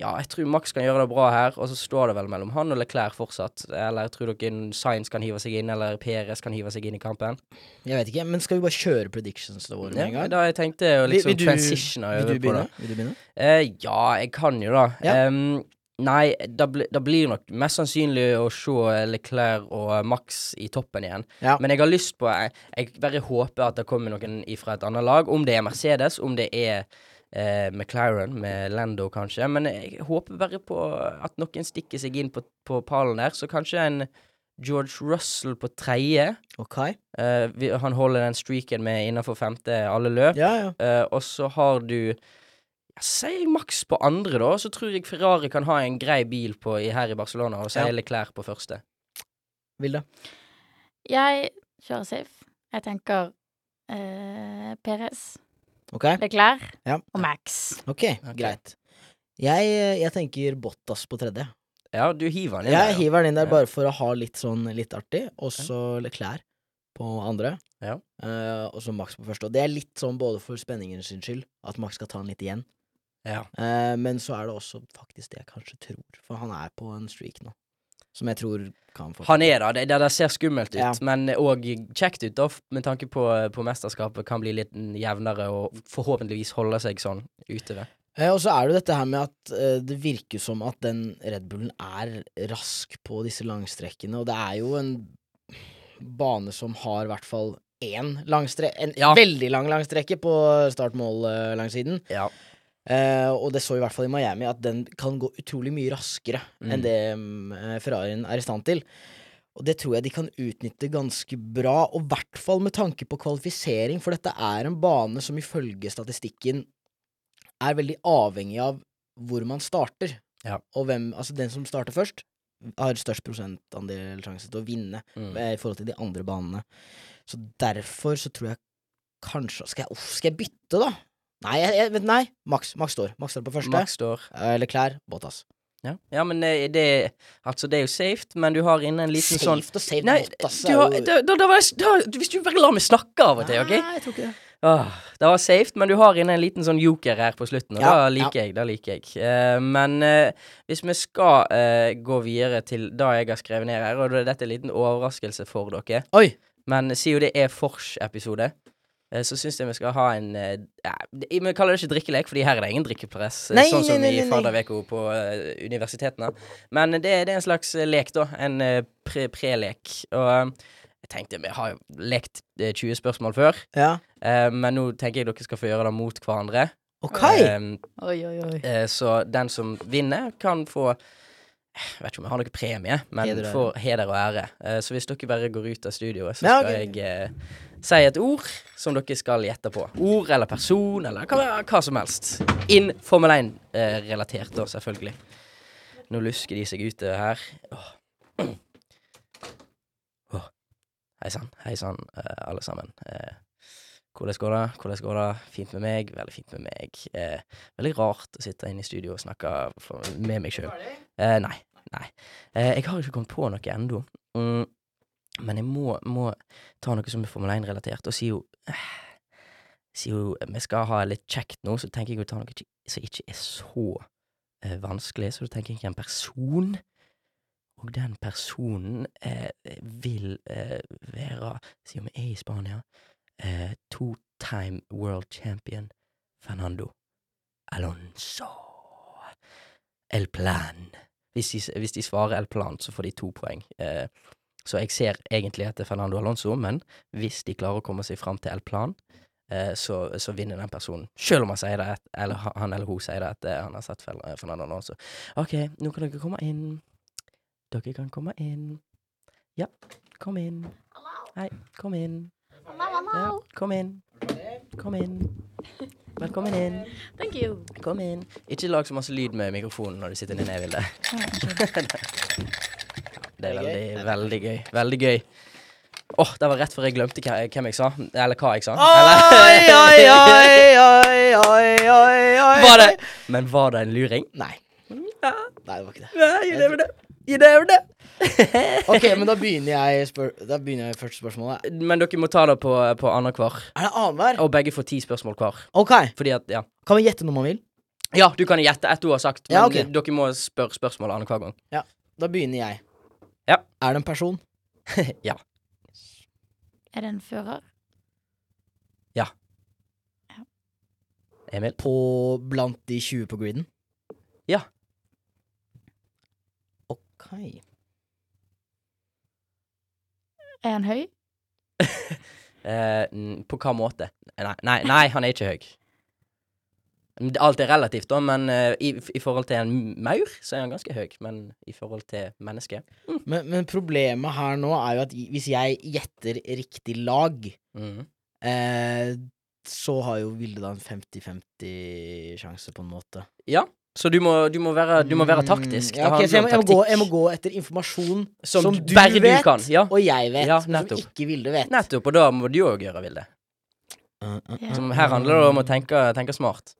Speaker 5: ja, jeg tror Max kan gjøre det bra her, og så står det vel mellom han og Leclerc fortsatt. Eller tror dere Sainz kan hive seg inn, eller Perez kan hive seg inn i kampen?
Speaker 6: Jeg vet ikke, men skal vi bare kjøre predictions våre med en
Speaker 5: Ja,
Speaker 6: gang?
Speaker 5: da jeg tenkte å
Speaker 6: Vil-
Speaker 5: liksom
Speaker 6: vil du-
Speaker 5: transitione
Speaker 6: vil
Speaker 5: over på
Speaker 6: du
Speaker 5: det.
Speaker 6: begynne? Vil du begynne?
Speaker 5: Eh, ja, jeg kan jo da.
Speaker 6: Ja.
Speaker 5: Em, nei, det bli, da blir nok mest sannsynlig å se Leclerc og Max i toppen igjen.
Speaker 6: Ja.
Speaker 5: Men jeg har lyst på jeg, jeg bare håper at det kommer noen fra et annet lag. Om det er Mercedes, om det er eh, McLaren med Lando, kanskje. Men jeg håper bare på at noen stikker seg inn på, på pallen der. Så kanskje en George Russell på tredje.
Speaker 6: Ok.
Speaker 5: Eh, vi, han holder den streaken med innenfor femte alle løp.
Speaker 6: Ja, ja.
Speaker 5: Eh, og så har du ja, Si maks på andre, da. Så tror jeg Ferrari kan ha en grei bil på, i, her i Barcelona, og så
Speaker 6: Ja.
Speaker 5: er Leclerc på første.
Speaker 6: Vilde.
Speaker 4: Jeg kjører safe. Jeg tenker eh, Perez,
Speaker 6: Ok.
Speaker 4: Leclerc
Speaker 6: Ja.
Speaker 4: og Max.
Speaker 6: Ok, greit. Jeg, jeg tenker Bottas på tredje.
Speaker 5: Ja, du hiver han inn
Speaker 6: Jeg
Speaker 5: der, ja.
Speaker 6: hiver den inn der
Speaker 5: Ja.
Speaker 6: bare for å ha litt sånn litt artig, og så Leclerc på andre.
Speaker 5: Ja.
Speaker 6: Eh, og så Max på første. Og det er litt sånn både for spenningen sin skyld, at Max skal ta den litt igjen.
Speaker 5: Ja.
Speaker 6: Eh, men så er det også faktisk det jeg kanskje tror, for han er på en streak nå. Som jeg tror kan få
Speaker 5: Han er da, det, det der ser skummelt ut,
Speaker 6: Ja.
Speaker 5: men òg kjekt ut, da, f- med tanke på, på mesterskapet. Kan bli litt jevnere og forhåpentligvis holde seg sånn utover.
Speaker 6: Eh, Og så er det jo dette her med at eh, det virker som at den Red Bullen er rask på disse langstrekkene, og det er jo en bane som har i hvert fall én langstre... En
Speaker 5: Ja.
Speaker 6: veldig lang langstrekke på start-mål-langsiden.
Speaker 5: Ja.
Speaker 6: Eh, og det så i hvert fall i Miami at den kan gå utrolig mye raskere enn det mm, eh, Ferrarien er i stand til. Og det tror jeg de kan utnytte ganske bra, og i hvert fall med tanke på kvalifisering, for dette er en bane som ifølge statistikken er veldig avhengig av hvor man starter.
Speaker 5: Ja.
Speaker 6: Og hvem, altså den som starter først, har størst prosentandel sjanse til å vinne
Speaker 5: Mm.
Speaker 6: eh, i forhold til de andre banene. Så derfor så tror jeg kanskje Skal jeg, uff, skal jeg bytte, da? Nei, jeg, jeg, vent, nei. Max, Max står. Max står på første.
Speaker 5: Max står.
Speaker 6: Eller klær. Bottas.
Speaker 5: Ja, ja men eh, det, altså, det er jo safe, men du har inne en liten
Speaker 6: Safe
Speaker 5: sånn
Speaker 6: altså. og safe.
Speaker 5: Nei,
Speaker 6: Bottas
Speaker 5: du har, da, da, da var jeg, da, hvis du bare lar meg snakke av og til, OK?
Speaker 6: Nei, jeg tror ikke det.
Speaker 5: Åh, det var safe, men du har inne en liten sånn joker her på slutten, og
Speaker 6: Ja,
Speaker 5: da liker jeg. da liker jeg. Eh, men eh, hvis vi skal eh, gå videre til det jeg har skrevet ned her, og da er dette en liten overraskelse for dere
Speaker 6: Oi!
Speaker 5: Men siden det er Fors-episode, eh, så syns jeg vi skal ha en eh, ja, det- Vi kaller det ikke drikkelek, fordi her er det ingen drikkepress, eh,
Speaker 6: Nei,
Speaker 5: sånn som
Speaker 6: nei, nei, nei,
Speaker 5: i
Speaker 6: nei.
Speaker 5: Fadderveko på eh, universitetene. Men det, det er en slags eh, lek, da. En eh, pre- pre-lek. og eh, jeg tenkte vi har jo lekt eh, 20 spørsmål før.
Speaker 6: Ja.
Speaker 5: Eh, men nå tenker jeg dere skal få gjøre det mot hverandre.
Speaker 6: Ok!
Speaker 5: Eh,
Speaker 4: Oi, oi, oi.
Speaker 5: eh, så den som vinner, kan få eh, Jeg vet ikke om jeg har noen premie, men
Speaker 6: Heder og
Speaker 5: får heder og ære. Eh, så hvis dere bare går ut av studioet, så
Speaker 6: Ja,
Speaker 5: skal
Speaker 6: ok.
Speaker 5: jeg eh, si et ord som dere skal gjette på. Ord eller person eller hva, hva som helst. Inn Formel 1-relatert, da, selvfølgelig. Nå lusker de seg ute her. Åh. Åh. Hei sann, hei sann, eh, alle sammen. Eh, hvordan går det? Hvordan går det? Fint med meg? Veldig fint med meg. Eh, veldig rart å sitte inne i studio og snakke for, med meg sjøl. Eh, nei. nei. Eh, jeg har ikke kommet på noe ennå. Mm, men jeg må, må ta noe som er Formel 1-relatert, og si jo eh, Si jo eh, vi skal ha litt kjekt nå, så tenker jeg å ta noe ikke- som ikke er så eh, vanskelig. Så da tenker jeg en person. Og den personen eh, vil eh, være Siden vi er i Spania eh, Two-time world champion Fernando Alonso. El Plan. Hvis de, hvis de svarer El Plan, så får de to poeng. Eh, så jeg ser egentlig etter Fernando Alonso, men hvis de klarer å komme seg fram til El Plan, eh, så, så vinner den personen. Selv om han sier det, et- eller ha- han eller hun sier det etter han har sett Fel- eh, Fernando Alonso. OK, nå kan dere komme inn. Dere kan komme inn. Ja, kom inn. Hei, kom inn. Ja, kom inn. Kom inn. Velkommen inn.
Speaker 4: Thank you.
Speaker 5: Kom inn. Ikke lag så masse lyd med mikrofonen når du sitter inne, Vilde. Det er veldig, veldig gøy. Veldig gøy. Åh, det var rett før jeg glemte hva- hvem jeg sa. Eller hva jeg sa.
Speaker 6: Oi,
Speaker 5: Eller,
Speaker 6: oi, oi, oi, oi, oi, oi.
Speaker 5: var det? Men var det en luring?
Speaker 6: Nei. Nei, det var ikke det.
Speaker 5: Nei, you never know. You never know.
Speaker 6: Ok, men da begynner jeg, spør da begynner jeg første spørsmålet.
Speaker 5: Men dere må ta det på, på annenhver.
Speaker 6: Er det annenhver?
Speaker 5: Og begge får ti spørsmål hver.
Speaker 6: Ok,
Speaker 5: Fordi at, ja.
Speaker 6: kan vi gjette når man vil?
Speaker 5: Ja, du kan gjette ett du har sagt, men
Speaker 6: Ja, ok.
Speaker 5: dere må spørre spørsmål annenhver gang.
Speaker 6: Da begynner jeg.
Speaker 5: Ja.
Speaker 6: Er det en person?
Speaker 5: Ja.
Speaker 4: Er det en fører?
Speaker 5: Emil?
Speaker 6: På blant de 20 på griden?
Speaker 5: Ja.
Speaker 6: Ok.
Speaker 4: Er han høy?
Speaker 5: Eh, n- på hva måte? Nei, nei, nei han er ikke høy. Men det- Alt er relativt, da, men eh, i, i forhold til en maur, så er han ganske høy. Men i forhold til mennesket
Speaker 6: Men, men problemet her nå er jo at i- hvis jeg gjetter riktig lag,
Speaker 5: mm.
Speaker 6: eh, så har jo Vilde da en 50-50 sjanse, på en måte.
Speaker 5: Så du må, du må være, du må være taktisk.
Speaker 6: Mm, Ja,
Speaker 5: Det
Speaker 6: ok,
Speaker 5: handler
Speaker 6: så jeg,
Speaker 5: om
Speaker 6: må- jeg,
Speaker 5: taktikk
Speaker 6: må gå, jeg må gå etter informasjon
Speaker 5: som,
Speaker 6: som
Speaker 5: du
Speaker 6: du
Speaker 5: bare
Speaker 6: vet,
Speaker 5: du kan. Ja.
Speaker 6: og jeg vet,
Speaker 5: Ja,
Speaker 6: men som
Speaker 5: nettopp.
Speaker 6: ikke Vilde vet.
Speaker 5: Nettopp, og da må du òg gjøre Vilde.
Speaker 6: Uh, uh,
Speaker 4: Ja.
Speaker 5: Som her handler det om å tenke, tenke smart.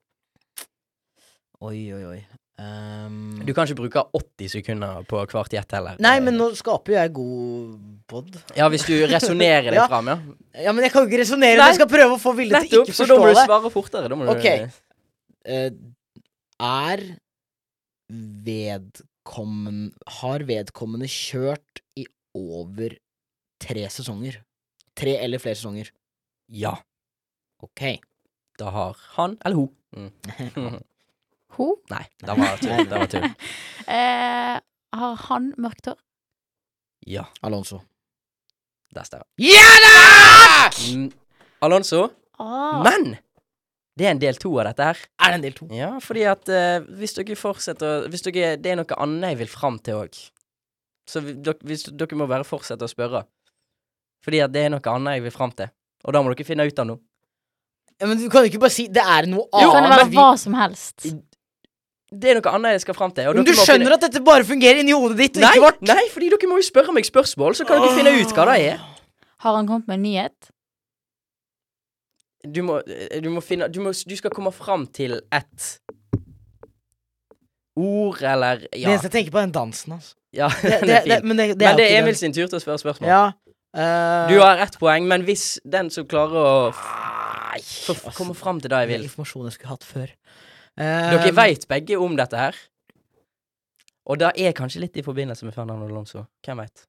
Speaker 6: Oi, oi, oi. Ehm,
Speaker 5: Du kan ikke bruke 80 sekunder på hvert gjett heller.
Speaker 6: Nei, men nå skaper jo jeg god pod.
Speaker 5: Ja, hvis du resonnerer deg
Speaker 6: Ja.
Speaker 5: fram, ja.
Speaker 6: Ja, men jeg kan jo ikke resonnere,
Speaker 5: Nei.
Speaker 6: men jeg skal prøve å få Vilde til
Speaker 5: Nettopp,
Speaker 6: ikke
Speaker 5: så da
Speaker 6: forstå
Speaker 5: må du
Speaker 6: det.
Speaker 5: svare fortere. Da må du
Speaker 6: Ok. Eh, er vedkommende Har vedkommende kjørt i over tre sesonger? Tre eller flere sesonger.
Speaker 5: Ja.
Speaker 6: Ok.
Speaker 5: Da har han eller hun. Mm.
Speaker 4: Ho?
Speaker 5: Nei, det var tull. Det var tull.
Speaker 4: Eh, har han mørkt hår?
Speaker 5: Ja,
Speaker 6: Alonso.
Speaker 5: det stemmer.
Speaker 6: Ja da!
Speaker 5: Mm, Alonso,
Speaker 4: Ah,
Speaker 5: men det er en del to av dette her.
Speaker 6: Er det en del to?
Speaker 5: Ja, fordi at eh, hvis dere fortsetter å- Hvis dere Det er noe annet jeg vil fram til òg. Så vi, dere, hvis, dere må bare fortsette å spørre. Fordi at det er noe annet jeg vil fram til. Og da må dere finne ut av noe.
Speaker 6: Ja, men du kan jo ikke bare si det er noe
Speaker 4: det kan
Speaker 6: annet.
Speaker 4: være
Speaker 6: vi-
Speaker 4: hva som helst.
Speaker 5: Det er noe annet jeg skal fram til. og
Speaker 6: Men du
Speaker 5: dere må
Speaker 6: skjønner at dette bare fungerer inni hodet ditt, og
Speaker 5: Nei,
Speaker 6: ikke vårt? Ah.
Speaker 5: nei, fordi dere må jo spørre meg spørsmål, så kan dere finne ut hva det er.
Speaker 4: Har han kommet med en nyhet?
Speaker 5: Du må, eh, du må finne du, må, du skal komme fram til et ord, eller
Speaker 6: Det
Speaker 5: Ja.
Speaker 6: eneste jeg tenker på, er den dansen hans.
Speaker 5: ja
Speaker 6: Det,
Speaker 5: den
Speaker 6: det,
Speaker 5: er
Speaker 6: det,
Speaker 5: fin.
Speaker 6: men det, det er
Speaker 5: Men det
Speaker 6: jo
Speaker 5: er
Speaker 6: ikke
Speaker 5: Emil
Speaker 6: den.
Speaker 5: sin tur til å spørre spørsmål.
Speaker 6: Ja. eh,
Speaker 5: Du har ett poeng, men hvis den som klarer å
Speaker 6: Nei,
Speaker 5: f-
Speaker 6: altså,
Speaker 5: komme fram til det jeg
Speaker 6: det er
Speaker 5: vil
Speaker 6: Informasjon jeg skulle hatt før.
Speaker 5: Dere
Speaker 6: Eh,
Speaker 5: veit begge om dette her. Og det er kanskje litt i forbindelse med Fernando Alonso. Hvem veit?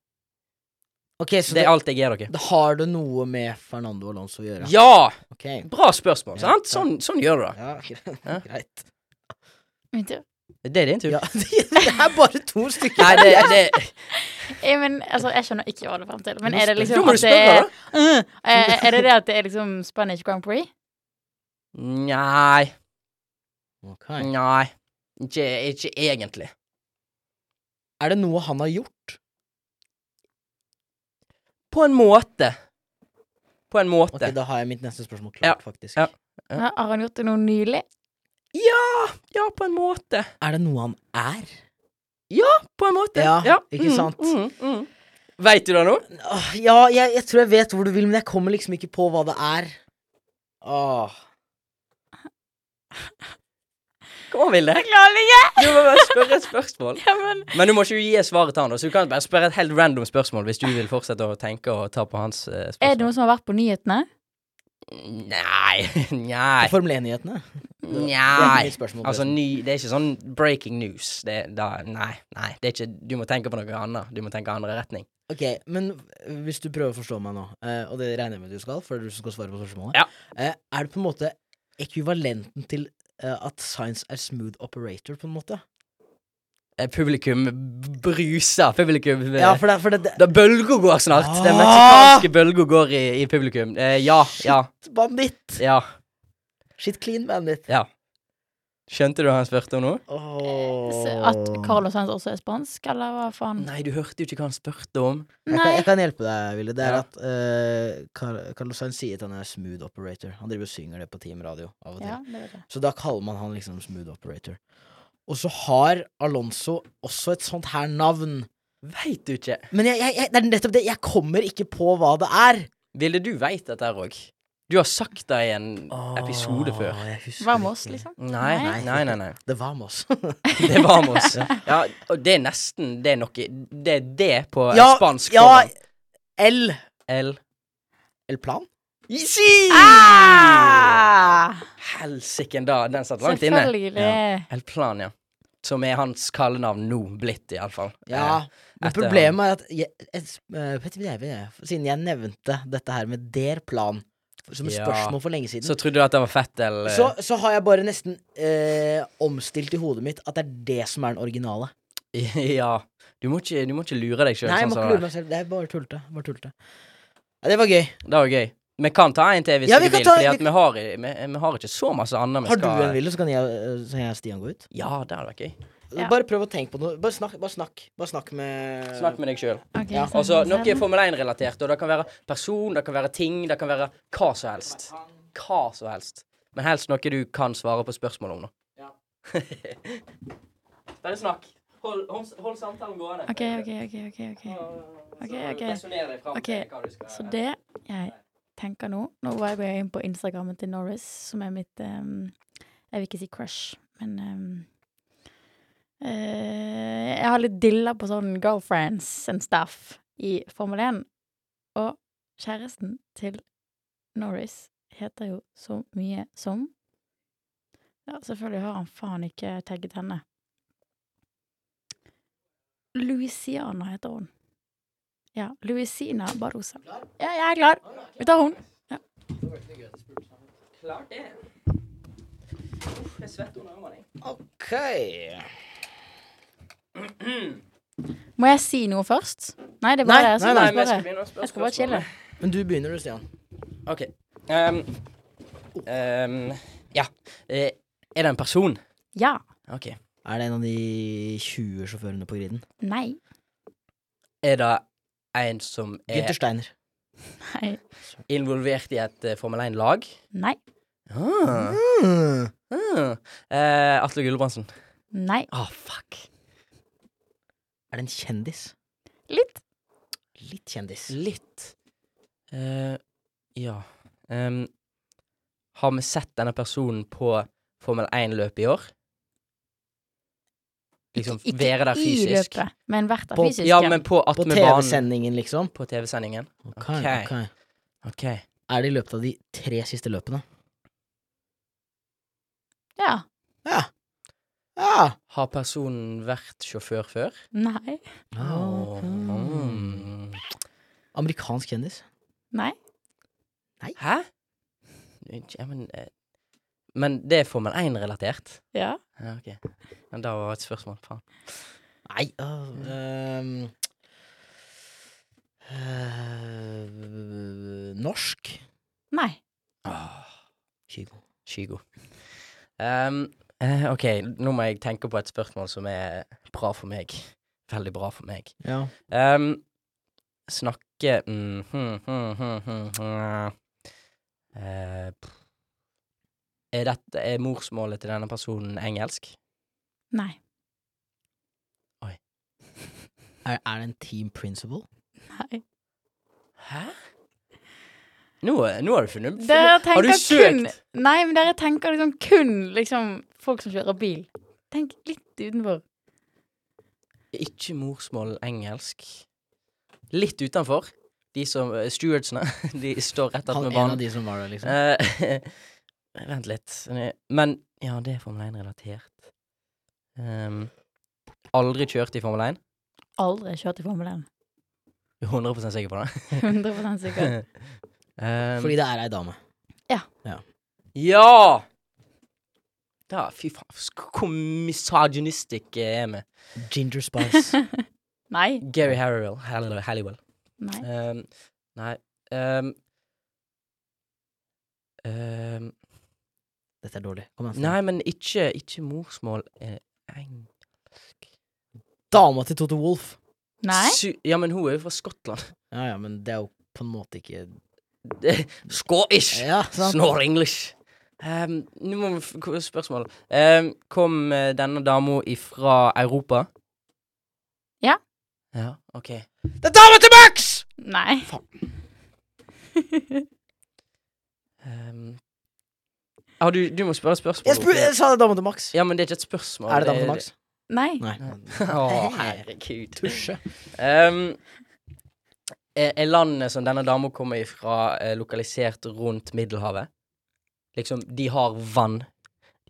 Speaker 6: Ok, så
Speaker 5: Det
Speaker 6: det,
Speaker 5: er alt jeg gir dere.
Speaker 6: det har det noe med Fernando Alonso å gjøre?
Speaker 5: Ja!
Speaker 6: Ok.
Speaker 5: Bra spørsmål,
Speaker 6: Ja,
Speaker 5: sant?
Speaker 6: ja.
Speaker 5: Sånn, sånn gjør du det.
Speaker 6: Ja, gre-
Speaker 5: Ja.
Speaker 6: greit.
Speaker 4: Min tur.
Speaker 5: Det er din tur.
Speaker 6: Ja, det er bare to stykker.
Speaker 5: Nei, det, det
Speaker 4: Eh, men, altså, jeg skjønner ikke hva det er frem til. Men er det
Speaker 5: Da
Speaker 4: liksom
Speaker 5: må du
Speaker 4: at det
Speaker 5: spørre,
Speaker 4: er, Øh, eh, Er det det at det er liksom Spanish Grand Prix?
Speaker 5: Nei.
Speaker 6: Ok.
Speaker 5: Nei. Ikke, ikke egentlig.
Speaker 6: Er det noe han har gjort?
Speaker 5: På en måte. På en måte.
Speaker 6: Ok, Da har jeg mitt neste spørsmål klart, faktisk.
Speaker 5: ja. Ja.
Speaker 4: Har har han gjort det noe nylig?
Speaker 5: Ja! Ja, på en måte.
Speaker 6: Er det noe han er?
Speaker 5: På en måte.
Speaker 6: Ja, ikke sant?
Speaker 5: Mm, mm. Veit du det nå?
Speaker 6: Åh, ja, jeg, jeg tror jeg vet hvor du vil, men jeg kommer liksom ikke på hva det er. Åh.
Speaker 5: Kom an, Vilde.
Speaker 4: Jeg klarer det ikke!
Speaker 5: Du må bare spørre et spørsmål.
Speaker 4: Ja, men
Speaker 5: Men du må ikke gi svaret til han, da, så du kan bare spørre et helt random spørsmål hvis du vil fortsette å tenke og ta på hans eh,
Speaker 4: Er det
Speaker 5: spørsmål.
Speaker 4: noe som har vært på nyhetene?
Speaker 5: Nei. Nei.
Speaker 6: Formel 1-nyhetene.
Speaker 5: Nei.
Speaker 6: mitt spørsmål,
Speaker 5: Altså,
Speaker 6: forresten.
Speaker 5: ny, det er ikke sånn breaking news. Det, da, nei, nei. Det er ikke, du må tenke på noe annet. Du må tenke andre retning.
Speaker 6: Ok, men hvis du prøver å forstå meg nå, eh, og det regner jeg med du skal, for det er du som skal svare på spørsmålet,
Speaker 5: Ja.
Speaker 6: eh, er det på en måte ekvivalenten til eh, at science er smooth operator, på en måte?
Speaker 5: Eh, Publikum bruser. Publikum eh,
Speaker 6: Ja, for det, for det, det
Speaker 5: Da bølga går snart. Den
Speaker 6: Ah!
Speaker 5: meksikanske bølga går i, i publikum. Eh, ja, ja,
Speaker 6: Banditt!
Speaker 5: ja,
Speaker 6: Shit clean bandit.
Speaker 5: ja. Skjønte du hva han spurte om nå?
Speaker 6: Åh.
Speaker 4: Så At Carlos Sainz også er spansk, eller hva faen?
Speaker 5: Nei, du hørte jo ikke hva han spurte om.
Speaker 6: Jeg kan,
Speaker 4: Nei.
Speaker 6: jeg kan hjelpe deg, Ville. Det er
Speaker 5: Ja.
Speaker 6: at eh, Car Carlos Sainz sier at han er smooth operator. Han driver og synger det på Team Radio av og til.
Speaker 4: Ja, det vet jeg.
Speaker 6: Så da kaller man han liksom smooth operator. Og så har Alonso også et sånt her navn.
Speaker 5: Veit du ikke?
Speaker 6: Men jeg, jeg, jeg, det er nettopp det, jeg kommer ikke på hva det er.
Speaker 5: Ville, du veit dette her òg. Du har sagt det i en Ah, episode før.
Speaker 6: Åh, jeg husker
Speaker 4: Hva med oss,
Speaker 6: ikke.
Speaker 4: liksom?
Speaker 5: Nei, nei, nei. nei, nei.
Speaker 6: Det var med oss.
Speaker 5: Det var med oss. Ja, og det er nesten Det er noe Det er det på
Speaker 6: ja,
Speaker 5: spansk.
Speaker 6: ja,
Speaker 5: foran
Speaker 6: El
Speaker 5: L.
Speaker 6: El Plan?
Speaker 5: Si!
Speaker 4: Ah!
Speaker 5: Helsiken, da. Den satt langt inne.
Speaker 4: Selvfølgelig.
Speaker 5: El Plan, ja. Som er hans kallenavn nå blitt, iallfall. Eh,
Speaker 6: Ja. Men
Speaker 5: etter
Speaker 6: problemet er at jeg, jeg, eh, vet du hva jeg, vet du, Siden jeg nevnte dette her med Der Plan som et
Speaker 5: Ja.
Speaker 6: spørsmål for lenge siden,
Speaker 5: Så trodde du at det var Fettel. eh,
Speaker 6: så, så har jeg bare nesten eh, omstilt i hodet mitt at det er det som er den originale.
Speaker 5: Ja. Du må ikke, du må ikke lure deg sånn sjøl.
Speaker 6: Nei, jeg må ikke lure meg selv. Det er bare tullete. Bare tullete. Ja, det var gøy.
Speaker 5: Det var gøy. Vi kan ta en til hvis
Speaker 6: Ja,
Speaker 5: vi
Speaker 6: vi kan
Speaker 5: vil,
Speaker 6: ta-
Speaker 5: Fordi
Speaker 6: vi
Speaker 5: at vi, har, vi, vi har ikke så masse annet vi
Speaker 6: Har du
Speaker 5: skal
Speaker 6: en ville, så kan jeg, øh, så kan jeg og Stian gå ut?
Speaker 5: Ja, det hadde vært gøy.
Speaker 4: Ja.
Speaker 6: Bare prøv å tenke på noe. Bare snakk, bare snakk. Bare snakk med
Speaker 5: Snakk med deg sjøl.
Speaker 4: Ok, sånn,
Speaker 6: Ja,
Speaker 4: så-
Speaker 5: Og så Altså, noe Formel 1-relatert, og det kan være person, det kan være ting, det kan være hva som helst. Hva som helst. Men helst noe du kan svare på spørsmål om, da. Bare snakk. Hold, hold, hold samtalen gående.
Speaker 4: OK, OK, OK. ok, ok. Ok, ok.
Speaker 5: Resonner deg fram
Speaker 4: Ok,
Speaker 5: til hva du skal
Speaker 4: Så det jeg tenker nå Nå var jeg inn på Instagrammen til Norris, som er mitt ehm, Jeg vil ikke si crush, men ehm, eh, Jeg har litt dilla på sånn girlfriends and stuff i Formel 1. Og kjæresten til Norris heter jo så mye som Ja, selvfølgelig har han faen ikke tagget henne. Louisiana heter hun. Ja, Louisina Barrosa. Ja, jeg er klar. Vi tar hun.
Speaker 5: Klart det. Jeg svetter under armene. jeg.
Speaker 6: OK.
Speaker 4: Må jeg si noe først? Nei, det er
Speaker 6: Nei,
Speaker 4: bare det.
Speaker 6: nei,
Speaker 4: Jeg, skal
Speaker 5: Nei, men jeg
Speaker 4: bare-
Speaker 5: skal begynne å spørre
Speaker 4: jeg skal bare
Speaker 5: spørsmål.
Speaker 4: chille.
Speaker 6: Men du begynner du, Stian.
Speaker 5: OK. Ehm, ehm, ja. Eh, er det en person?
Speaker 4: Ja.
Speaker 5: OK.
Speaker 6: Er det en av de 20 sjåførene på griden?
Speaker 4: Nei.
Speaker 5: Er det en som
Speaker 6: Gunther
Speaker 5: er
Speaker 6: Steiner.
Speaker 4: Nei.
Speaker 5: involvert i et eh, Formel 1-lag?
Speaker 4: Nei.
Speaker 5: Ah.
Speaker 6: Mm.
Speaker 5: Ah. Eh, Atle Gulbrandsen.
Speaker 4: Nei.
Speaker 5: Ah, fuck.
Speaker 6: Er det en kjendis?
Speaker 4: Litt.
Speaker 6: Litt kjendis.
Speaker 5: Litt. Eh, ja. Ehm, har vi sett denne personen på Formel 1-løpet i år? Liksom
Speaker 4: Ikke
Speaker 5: være der
Speaker 4: i
Speaker 5: fysisk?
Speaker 4: løpet, men vært der
Speaker 5: På,
Speaker 4: fysisk.
Speaker 5: ja, men på
Speaker 6: På
Speaker 5: attmed banen.
Speaker 6: TV-sendingen, liksom?
Speaker 5: På TV-sendingen.
Speaker 6: Ok,
Speaker 5: Ok.
Speaker 6: ok.
Speaker 5: OK.
Speaker 6: Er det i løpet av de tre siste løpene?
Speaker 4: Ja.
Speaker 6: Ja. Ja.
Speaker 5: Har personen vært sjåfør før?
Speaker 4: Nei.
Speaker 5: Åh.
Speaker 6: Mm.
Speaker 5: Mm.
Speaker 6: Amerikansk kjendis.
Speaker 4: Nei.
Speaker 5: Hæ? Ja, men, eh, men det er Formel 1-relatert?
Speaker 4: Ja.
Speaker 5: Ja, ok. Men da var det et spørsmål. Faen.
Speaker 6: Nei Ehm, øhm, øh, eh, Norsk?
Speaker 4: Nei.
Speaker 5: Kygo. Kygo. Ehm, eh, ok, nå må jeg tenke på et spørsmål som er bra for meg. Veldig bra for meg.
Speaker 6: Ja.
Speaker 5: Ehm, snakke mm, hm, hm, hm, hm, hm. Eh, pff. Er dette er morsmålet til denne personen engelsk?
Speaker 4: Nei.
Speaker 6: Er, er det en team principal?
Speaker 4: Nei.
Speaker 5: Hæ? Nå, nå har du funnet,
Speaker 4: Dere
Speaker 5: funnet
Speaker 4: tenker
Speaker 5: Har du
Speaker 4: kun
Speaker 5: søkt?
Speaker 4: Nei, men dere tenker liksom kun liksom folk som kjører bil. Tenk litt utenfor.
Speaker 5: Ikke morsmål engelsk. Litt utenfor. De som Stewartsene. De står rett
Speaker 6: Han,
Speaker 5: attmed
Speaker 6: en
Speaker 5: banen.
Speaker 6: av de som var der, liksom.
Speaker 5: Eh, vent litt. Men ja, det er Formel 1-relatert. Ehm, aldri kjørt i Formel 1.
Speaker 4: Aldri kjørt i Formel 1.
Speaker 5: Jeg er 100 sikker på
Speaker 4: 100 sikker.
Speaker 5: det. Ehm,
Speaker 6: Fordi det er ei dame.
Speaker 5: Ja! Da, fy faen, sk- hvor misogynistisk jeg er med.
Speaker 6: Ginger Spice.
Speaker 4: Nei.
Speaker 5: Gary Halliwell. Halliwell. Halliwell.
Speaker 4: Nei.
Speaker 5: Ehm, nei ehm, ehm,
Speaker 6: Dette er dårlig. Kom igjen.
Speaker 5: Nei, men ikke, ikke morsmål eh, eng-
Speaker 6: Dama til Toto Wolff.
Speaker 4: Nei.
Speaker 5: Su- Ja, men hun er jo fra Skottland.
Speaker 6: Ja ja, men det er jo på en måte ikke
Speaker 5: Scottish!
Speaker 6: Ja, sant?
Speaker 5: Snore English. Ehm, nå må vi f k- Spørsmål. Ehm, kom eh, denne dama ifra Europa?
Speaker 4: Ja.
Speaker 5: Ja, OK.
Speaker 6: Det er dama til Max!
Speaker 4: Nei.
Speaker 5: Ehm, ah, du, du må spørre spørsmål.
Speaker 6: Jeg, spør, jeg sa det er dama til Max.
Speaker 5: Ja, men det er ikke et spørsmål.
Speaker 6: er det dama til Max?
Speaker 4: Nei.
Speaker 6: Nei.
Speaker 5: Å, herregud.
Speaker 6: Tusje.
Speaker 5: Ehm, er er landet som denne dama kommer ifra, eh, lokalisert rundt Middelhavet? Liksom, de har vann.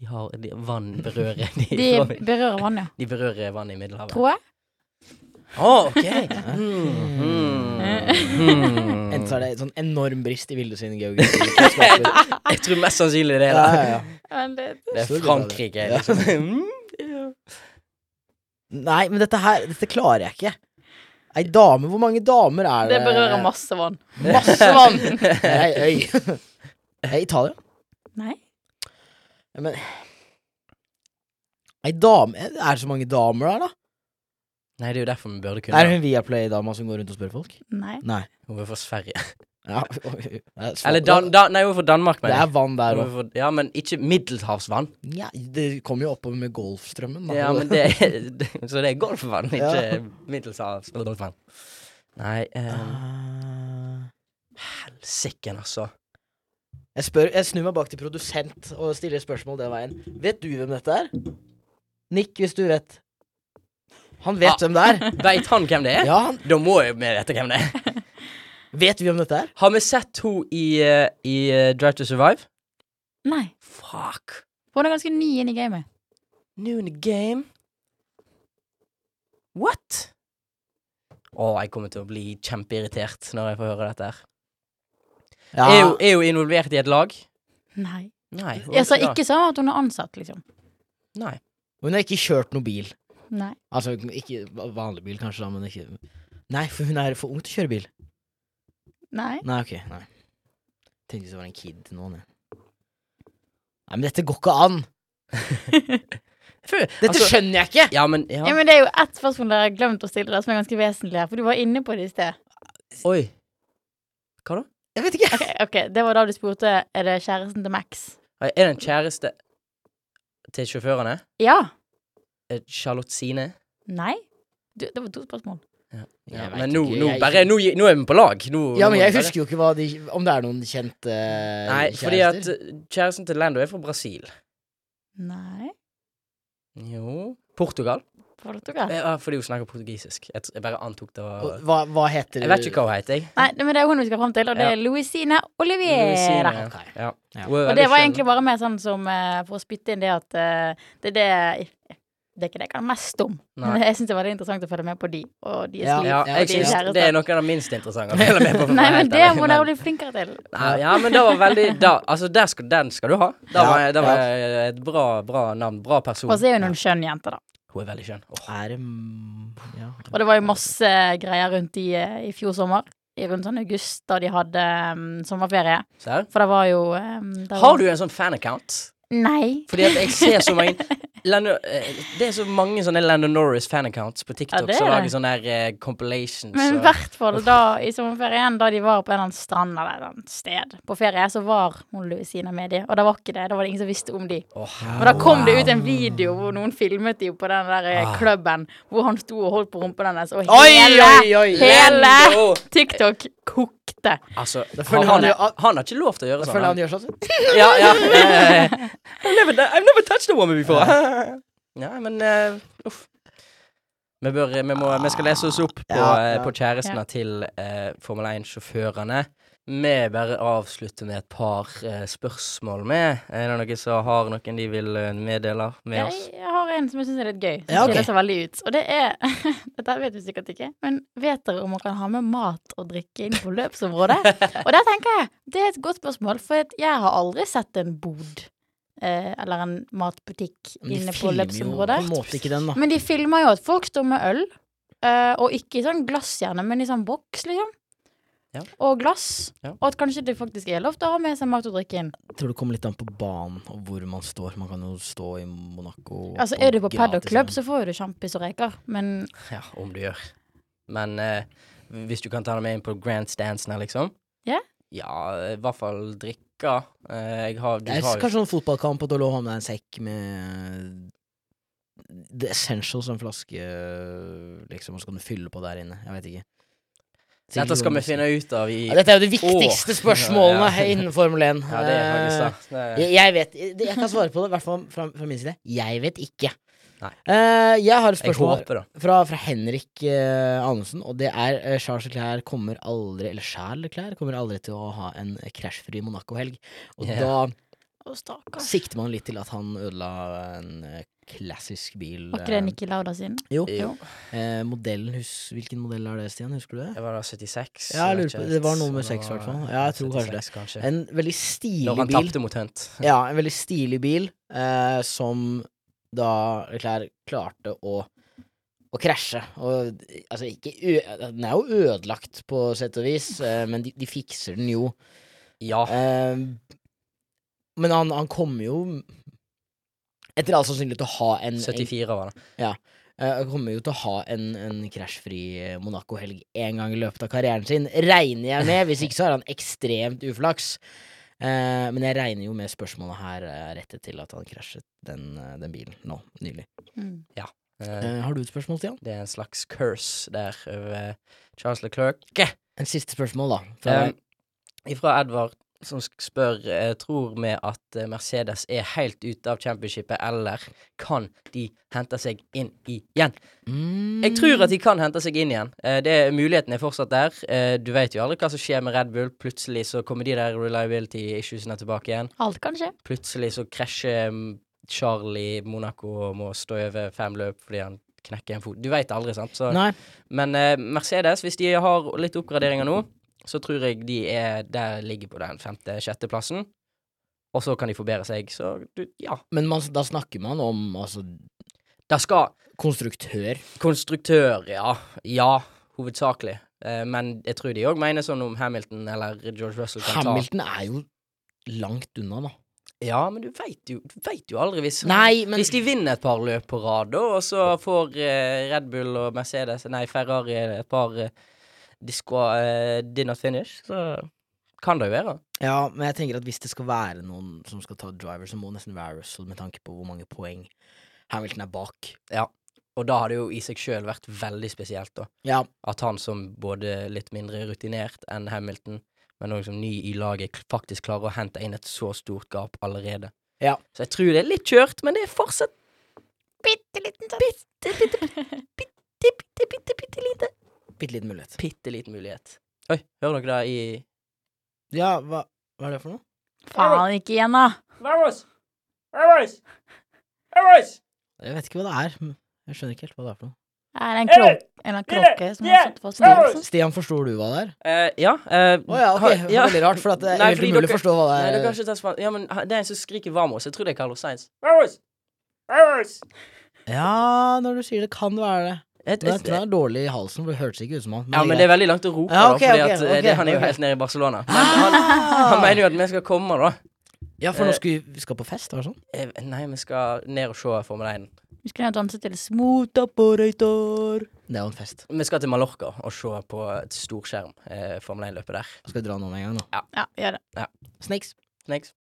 Speaker 5: De har de, Vann berører de,
Speaker 4: De berører vannet,
Speaker 5: de berører vann i Middelhavet. Å,
Speaker 4: tror jeg.
Speaker 5: OK! Mm,
Speaker 4: Eh,
Speaker 5: mm, mm.
Speaker 6: Enten så er det en sånn enorm brist i Vilde sine geografiske
Speaker 5: Jeg tror mest sannsynlig det er
Speaker 6: Ja,
Speaker 5: det.
Speaker 6: ja, ja.
Speaker 4: Men det-
Speaker 5: Det er
Speaker 6: Storbritannia.
Speaker 5: Frankrike,
Speaker 6: Ja.
Speaker 5: liksom. Mm.
Speaker 6: Nei, men dette her Dette klarer jeg ikke. Ei dame Hvor mange damer er det?
Speaker 4: Det berører masse vann.
Speaker 6: Masse
Speaker 4: Vann!
Speaker 6: Nei, øy. Ei Italia?
Speaker 4: Nei.
Speaker 6: Men Ei dame Er det så mange damer der, da?
Speaker 5: Nei, det er jo derfor vi burde
Speaker 6: Er det
Speaker 5: kunne
Speaker 6: hun Viaplay-dama som går rundt og spør folk?
Speaker 4: Nei.
Speaker 6: Nei.
Speaker 5: Hun er fra Sverige.
Speaker 6: Ja, oi, det er svart.
Speaker 5: Eller Dan, Dan, Nei, hun er fra Danmark,
Speaker 6: Det
Speaker 5: mener
Speaker 6: er vann
Speaker 5: jeg.
Speaker 6: der
Speaker 5: Hun
Speaker 6: òg.
Speaker 5: er fra- Ja, men ikke middelhavsvann.
Speaker 6: Ja, det kommer jo oppover med Golfstrømmen. da.
Speaker 5: Ja, men det er, Så det er golfvann, ikke
Speaker 6: Ja.
Speaker 5: ja. middelhavsvann. Nei, um,
Speaker 6: Ah.
Speaker 5: sikken, altså.
Speaker 6: jeg, spør, jeg snur meg bak til produsent og stiller spørsmål den veien. Vet du hvem dette er? Nikk hvis du vet. Han vet
Speaker 5: Ah.
Speaker 6: hvem det er.
Speaker 5: Veit han hvem det er?
Speaker 6: Ja, han
Speaker 5: Da må jeg vi vite hvem det er.
Speaker 6: Vet vi hvem dette er?
Speaker 5: Har vi sett henne i, eh, i eh, Drive to Survive?
Speaker 4: Nei.
Speaker 5: Fuck.
Speaker 4: Hun er ganske ny inn i gamet.
Speaker 5: New in the game. What? Å, jeg kommer til å bli kjempeirritert når jeg får høre dette her. Er, hun, er hun involvert i et lag?
Speaker 4: Nei.
Speaker 5: Nei.
Speaker 4: Jeg sa
Speaker 5: da.
Speaker 4: ikke sånn at hun er ansatt, liksom.
Speaker 5: Nei.
Speaker 6: Hun har ikke kjørt noen bil.
Speaker 4: Nei.
Speaker 6: Altså ikke vanlig bil, kanskje, da, men ikke Nei, for hun er for ung til å kjøre bil.
Speaker 4: Nei.
Speaker 6: Nei, ok. Nei. Tenkte det var en kid til noen, jeg. Nei, men dette går ikke an!
Speaker 5: Jeg føler-
Speaker 6: Dette
Speaker 5: altså,
Speaker 6: skjønner jeg ikke!
Speaker 5: Ja, men ja.
Speaker 4: Ja, men det er jo ett spørsmål dere har glemt å stille dere, som er ganske vesentlig her, for du var inne på det i sted.
Speaker 5: Oi. Hva da?
Speaker 6: Jeg vet ikke.
Speaker 4: Ok, ok, det var da du spurte er det kjæresten til Max.
Speaker 5: Er det en kjæreste til sjåførene?
Speaker 4: Ja.
Speaker 5: Eh, Charlotte Sine?
Speaker 4: Nei. Du, det var to spørsmål.
Speaker 5: Ja,
Speaker 6: Jeg
Speaker 5: men
Speaker 6: vet
Speaker 5: nå,
Speaker 6: ikke,
Speaker 5: nå,
Speaker 6: jeg-
Speaker 5: bare, nå, gi- nå er vi på lag. Nå,
Speaker 6: Ja, men
Speaker 5: nå er vi
Speaker 6: jeg
Speaker 5: bare-
Speaker 6: husker jo ikke hva de, om det er noen kjente eh,
Speaker 5: Nei, fordi at
Speaker 6: kjærester.
Speaker 5: eh, kjæresten til Lando er fra Brasil.
Speaker 4: Nei.
Speaker 5: Jo Portugal.
Speaker 4: Portugal.
Speaker 5: Eh, Ja, fordi hun snakker portugisisk. Jeg, tr- jeg bare antok det var
Speaker 6: Og Hva, hva heter
Speaker 5: Jeg vet ikke hva hun heter, jeg.
Speaker 4: Nei, men det er hun vi skal fram til, og det er
Speaker 5: Ja.
Speaker 4: Louisina
Speaker 5: Louisine,
Speaker 4: Oliviera.
Speaker 5: ja.
Speaker 6: Ok.
Speaker 5: Ja. Hun
Speaker 6: Ja.
Speaker 5: er
Speaker 4: Og
Speaker 5: veldig
Speaker 4: det var
Speaker 5: skjønn.
Speaker 4: egentlig bare mer sånn som eh, for å spytte inn det at eh, det er det Det er ikke det jeg kan mest om,
Speaker 5: Nei.
Speaker 4: men jeg syns det var litt interessant å følge med på de og deres
Speaker 6: Ja.
Speaker 4: liv.
Speaker 5: Ja,
Speaker 6: Ja,
Speaker 5: jeg
Speaker 4: og
Speaker 6: det er
Speaker 4: deres
Speaker 5: synes det er
Speaker 4: kjærester.
Speaker 5: noe av det minst interessante å følge med på. for å
Speaker 4: Nei,
Speaker 5: være
Speaker 4: men
Speaker 5: helt
Speaker 4: det
Speaker 5: ærlig,
Speaker 4: må dere bli flinkere til.
Speaker 5: Nei, ja, men det var veldig da, Altså, der skal, den skal du ha. Det
Speaker 6: Ja,
Speaker 5: var, det var
Speaker 6: ja.
Speaker 5: et bra, bra navn. Bra person.
Speaker 4: Og så er hun en skjønn jente, da.
Speaker 5: Hun er veldig skjønn. Åh.
Speaker 6: Er det mm, ja.
Speaker 4: Og det var jo masse greier rundt i, eh, i fjor sommer. I rundt sånn august, da de hadde eh, sommerferie.
Speaker 5: Ser.
Speaker 4: For det var jo eh, det
Speaker 5: Har
Speaker 4: var-
Speaker 5: du en sånn fanaccount?
Speaker 4: Nei.
Speaker 5: Fordi at jeg ser så mange Lando, eh, Det er så mange sånne Lando Norris-fanaccounts på TikTok
Speaker 4: Ja, det er
Speaker 5: som
Speaker 4: det.
Speaker 5: lager sånne her, eh, compilations.
Speaker 4: Men i
Speaker 5: og-
Speaker 4: hvert fall da i sommerferien, da de var på en eller annen strand eller et eller annet sted på ferie, så var hun Louisina med de, og da var ikke det. Da var det ingen som visste om de.
Speaker 5: Åh,
Speaker 4: Og
Speaker 6: Ah.
Speaker 4: da kom det ut en video hvor noen filmet de på den der eh,
Speaker 5: Ah.
Speaker 4: klubben, hvor han sto og holdt på rumpen hennes, og
Speaker 6: Oi,
Speaker 4: hele,
Speaker 6: oi, oi!
Speaker 4: hele
Speaker 5: Lando!
Speaker 4: TikTok kokte.
Speaker 5: Altså,
Speaker 6: føler
Speaker 5: han, han,
Speaker 6: han jo at-
Speaker 5: han har ikke lov til å gjøre
Speaker 6: Jeg
Speaker 5: sånn.
Speaker 6: føler
Speaker 5: Han.
Speaker 6: han gjør sånn.
Speaker 5: Ja, ja. eh, I've, never, done- I've never touched a woman before. Nei, men eh, uff. Vi, bør, vi, må, vi skal lese oss opp på,
Speaker 6: Ja,
Speaker 5: eh,
Speaker 6: ja.
Speaker 5: på kjærestene
Speaker 4: Ja.
Speaker 5: til eh, Formel 1-sjåførene. Vi bare avslutter med et par eh, spørsmål med. Er det noen som har noen de vil eh, meddele med
Speaker 4: Jeg,
Speaker 5: oss?
Speaker 4: jeg har en som jeg syns er litt gøy. Som
Speaker 6: Ja, ok.
Speaker 4: skiller seg veldig ut. Og det er Dette vet du sikkert ikke, men vet dere om man kan ha med mat og drikke inn på løpsområdet? og der tenker jeg det er et godt spørsmål, for at jeg har aldri sett en bod eh, eller en matbutikk
Speaker 6: Men
Speaker 4: inne
Speaker 6: de
Speaker 4: på
Speaker 6: filmer jo på
Speaker 4: løpsområdet.
Speaker 6: en måte ikke den, da.
Speaker 4: Men de filmer jo at folk står med øl, eh, og ikke i sånn glass gjerne, men i sånn boks, liksom.
Speaker 5: Ja.
Speaker 4: Og glass.
Speaker 5: Ja.
Speaker 4: Og at kanskje det faktisk er lov til å ha med seg mat og drikke inn.
Speaker 6: Jeg tror det kommer litt an på banen og hvor man står. Man kan jo stå i Monaco og
Speaker 4: Altså, Er du på
Speaker 6: gratis,
Speaker 4: paddockklubb,
Speaker 6: men-
Speaker 4: så får jo du sjampis og reker, men
Speaker 5: Ja, om du gjør. Men eh, hvis du kan ta det med inn på grandstandsene, liksom.
Speaker 4: Ja.
Speaker 5: Ja, i hvert fall drikke. Eh, jeg har, du
Speaker 6: Det er
Speaker 5: har jo
Speaker 6: kanskje sånn fotballkamp at du har lov å ha med deg en sekk med The Essentials, en flaske, liksom, og så kan du fylle på der inne. Jeg vet ikke.
Speaker 5: Dette skal vi finne ut av i
Speaker 6: ja, Dette er jo de viktigste
Speaker 5: Åh.
Speaker 6: spørsmålene
Speaker 5: Ja.
Speaker 6: innen Formel 1.
Speaker 5: Ja, det er faktisk det.
Speaker 6: Jeg, jeg vet det- Jeg kan svare på det, i hvert fall fra, fra min side. Jeg vet ikke.
Speaker 5: Nei.
Speaker 6: Eh, jeg har et
Speaker 5: Jeg
Speaker 6: spørsmål
Speaker 5: håper det.
Speaker 6: fra, fra Henrik eh, Anundsen, og det er eh, Charles Leclerc kommer aldri Eller Charles Leclerc kommer aldri til å ha en eh, krasjfri Monaco-helg. Og
Speaker 5: Ja.
Speaker 6: da
Speaker 4: Å, stakkars.
Speaker 6: sikter man litt til at han ødela en eh, klassisk bil.
Speaker 4: Var ikke det Nikki Lauda sin?
Speaker 6: eh, Jo.
Speaker 5: Jo.
Speaker 6: Eh, modellen, hus, hvilken modell er det, Stian? Husker du det?
Speaker 5: Det var da 76.
Speaker 6: Ja,
Speaker 5: vet
Speaker 6: jeg lurer
Speaker 5: ikke
Speaker 6: på-
Speaker 5: helt.
Speaker 6: det var noe med
Speaker 5: Så
Speaker 6: seks,
Speaker 5: var-
Speaker 6: i hvert fall. Ja, jeg tror kanskje det.
Speaker 5: 76 kanskje.
Speaker 6: En veldig
Speaker 5: Når
Speaker 6: stilig
Speaker 5: han
Speaker 6: bil.
Speaker 5: tapte mot Hunt.
Speaker 6: Ja, en veldig stilig bil, eh, som da Leclerc klarte å å krasje. Og altså, ikke ø Den er jo ødelagt, på sett og vis, eh, men de, de fikser den jo.
Speaker 5: Ja.
Speaker 6: Eh, men han, han kommer jo etter all sannsynlighet til å ha en, en
Speaker 5: 74 var det.
Speaker 6: Eh, Han kommer jo til å ha en, en krasjfri Monaco-helg én gang i løpet av karrieren sin, regner jeg med. Hvis ikke så har han ekstremt uflaks. Eh, men jeg regner jo med spørsmålet her er rettet til at han krasjet den, eh, den bilen nå nylig.
Speaker 4: Mm.
Speaker 5: Eh,
Speaker 6: Eh, har du et spørsmål, Stian?
Speaker 5: Det er en slags curse der over eh, Charles Leclerc.
Speaker 6: En siste spørsmål, da. Fra
Speaker 5: Eh,
Speaker 6: deg.
Speaker 5: Ifra Edvard, som sk- spør eh, tror vi at eh, Mercedes er helt ute av championshipet, eller kan de hente seg inn igjen?
Speaker 6: Mm.
Speaker 5: Jeg tror at de kan hente seg inn igjen. Eh, det, muligheten er fortsatt der. Eh, du vet jo aldri hva som skjer med Red Bull. Plutselig så kommer de der reliability issuesene tilbake igjen.
Speaker 4: Alt kan skje.
Speaker 5: Plutselig så krasjer mm, Charlie Monaco og må stå over fem løp fordi han knekker en fot. Du veit aldri, sant? Så,
Speaker 6: Nei.
Speaker 5: men eh, Mercedes, hvis de har litt oppgraderinger nå, så tror jeg de er der ligger på den femte-sjetteplassen. og så kan de forbedre seg. Så du, ja.
Speaker 6: Men man, da snakker man om altså,
Speaker 5: Det skal
Speaker 6: konstruktør.
Speaker 5: Konstruktør, ja. Ja, hovedsakelig. Eh, men jeg tror de òg mener sånn om Hamilton eller George Russell kan
Speaker 6: Hamilton er jo langt unna, da.
Speaker 5: ta Ja, men du veit jo, du vet jo aldri hvis
Speaker 6: Nei, men
Speaker 5: Hvis de vinner et par løp på rad, da, og så får eh, Red Bull og Mercedes, nei, Ferrari et par eh, diskva, eh, did not finish, så kan det jo være.
Speaker 6: Ja, men jeg tenker at hvis det skal være noen som skal ta driver, så må det nesten være Russell, med tanke på hvor mange poeng Hamilton er bak.
Speaker 5: Og da har det jo i seg sjøl vært veldig spesielt, da.
Speaker 6: Ja,
Speaker 5: At han som både litt mindre rutinert enn Hamilton, men òg som ny i laget, k- faktisk klarer å hente inn et så stort gap allerede.
Speaker 6: Ja.
Speaker 5: Så jeg tror det er litt kjørt, men det er fortsatt
Speaker 4: Bitte liten sånn. Bitte, bitte,
Speaker 5: bitte, bitte, bitte lite
Speaker 6: bitte liten mulighet.
Speaker 5: Bitte liten mulighet. Oi, hører dere det i
Speaker 6: Ja, hva, hva er det for noe?
Speaker 4: Faen, ikke igjen, da.
Speaker 6: Jeg vet ikke hva det er. men Jeg skjønner ikke helt hva det er for noe.
Speaker 4: Er det en klok- en eller annen klokke som har satt fast noe? liksom?
Speaker 6: Stian, forstår du hva det er?
Speaker 5: Eh, Ja. eh,
Speaker 6: Å ja, ok.
Speaker 5: har-
Speaker 6: Det var veldig rart, for at det er
Speaker 5: Nei,
Speaker 6: helt
Speaker 5: fordi
Speaker 6: umulig å
Speaker 5: dere-
Speaker 6: forstå hva det
Speaker 5: Nei,
Speaker 6: er.
Speaker 5: du kan ikke ta span- Ja, men ha- det er en som skriker Vamos. Jeg tror det er Carlos Sainz.
Speaker 6: Ja, når du sier det, kan det være det.
Speaker 5: Et-
Speaker 6: Men jeg
Speaker 5: et-
Speaker 6: tror han er dårlig i halsen, for det hørtes ikke ut som han.
Speaker 5: ja, men det er veldig langt å rope,
Speaker 6: Ja, ok,
Speaker 5: da, fordi at
Speaker 6: ok,
Speaker 5: eh,
Speaker 6: ok,
Speaker 5: det, han er jo
Speaker 6: ok.
Speaker 5: helt nede i Barcelona. Men han, han Eh. mener jo at vi skal komme, da.
Speaker 6: Ah! Ja, for nå skal vi, vi skal på fest, var det sånn?
Speaker 5: Eh, Nei, vi skal ned og se Formel 1.
Speaker 4: Vi skulle jo danse til Smuta på røytor.
Speaker 6: Det er jo en fest.
Speaker 5: Vi skal til Mallorca og se på et storskjerm eh, Formel 1-løpet der.
Speaker 6: Skal vi dra noen en gang, nå?
Speaker 4: Ja, gjør det.
Speaker 6: Snakes.
Speaker 5: Snakes.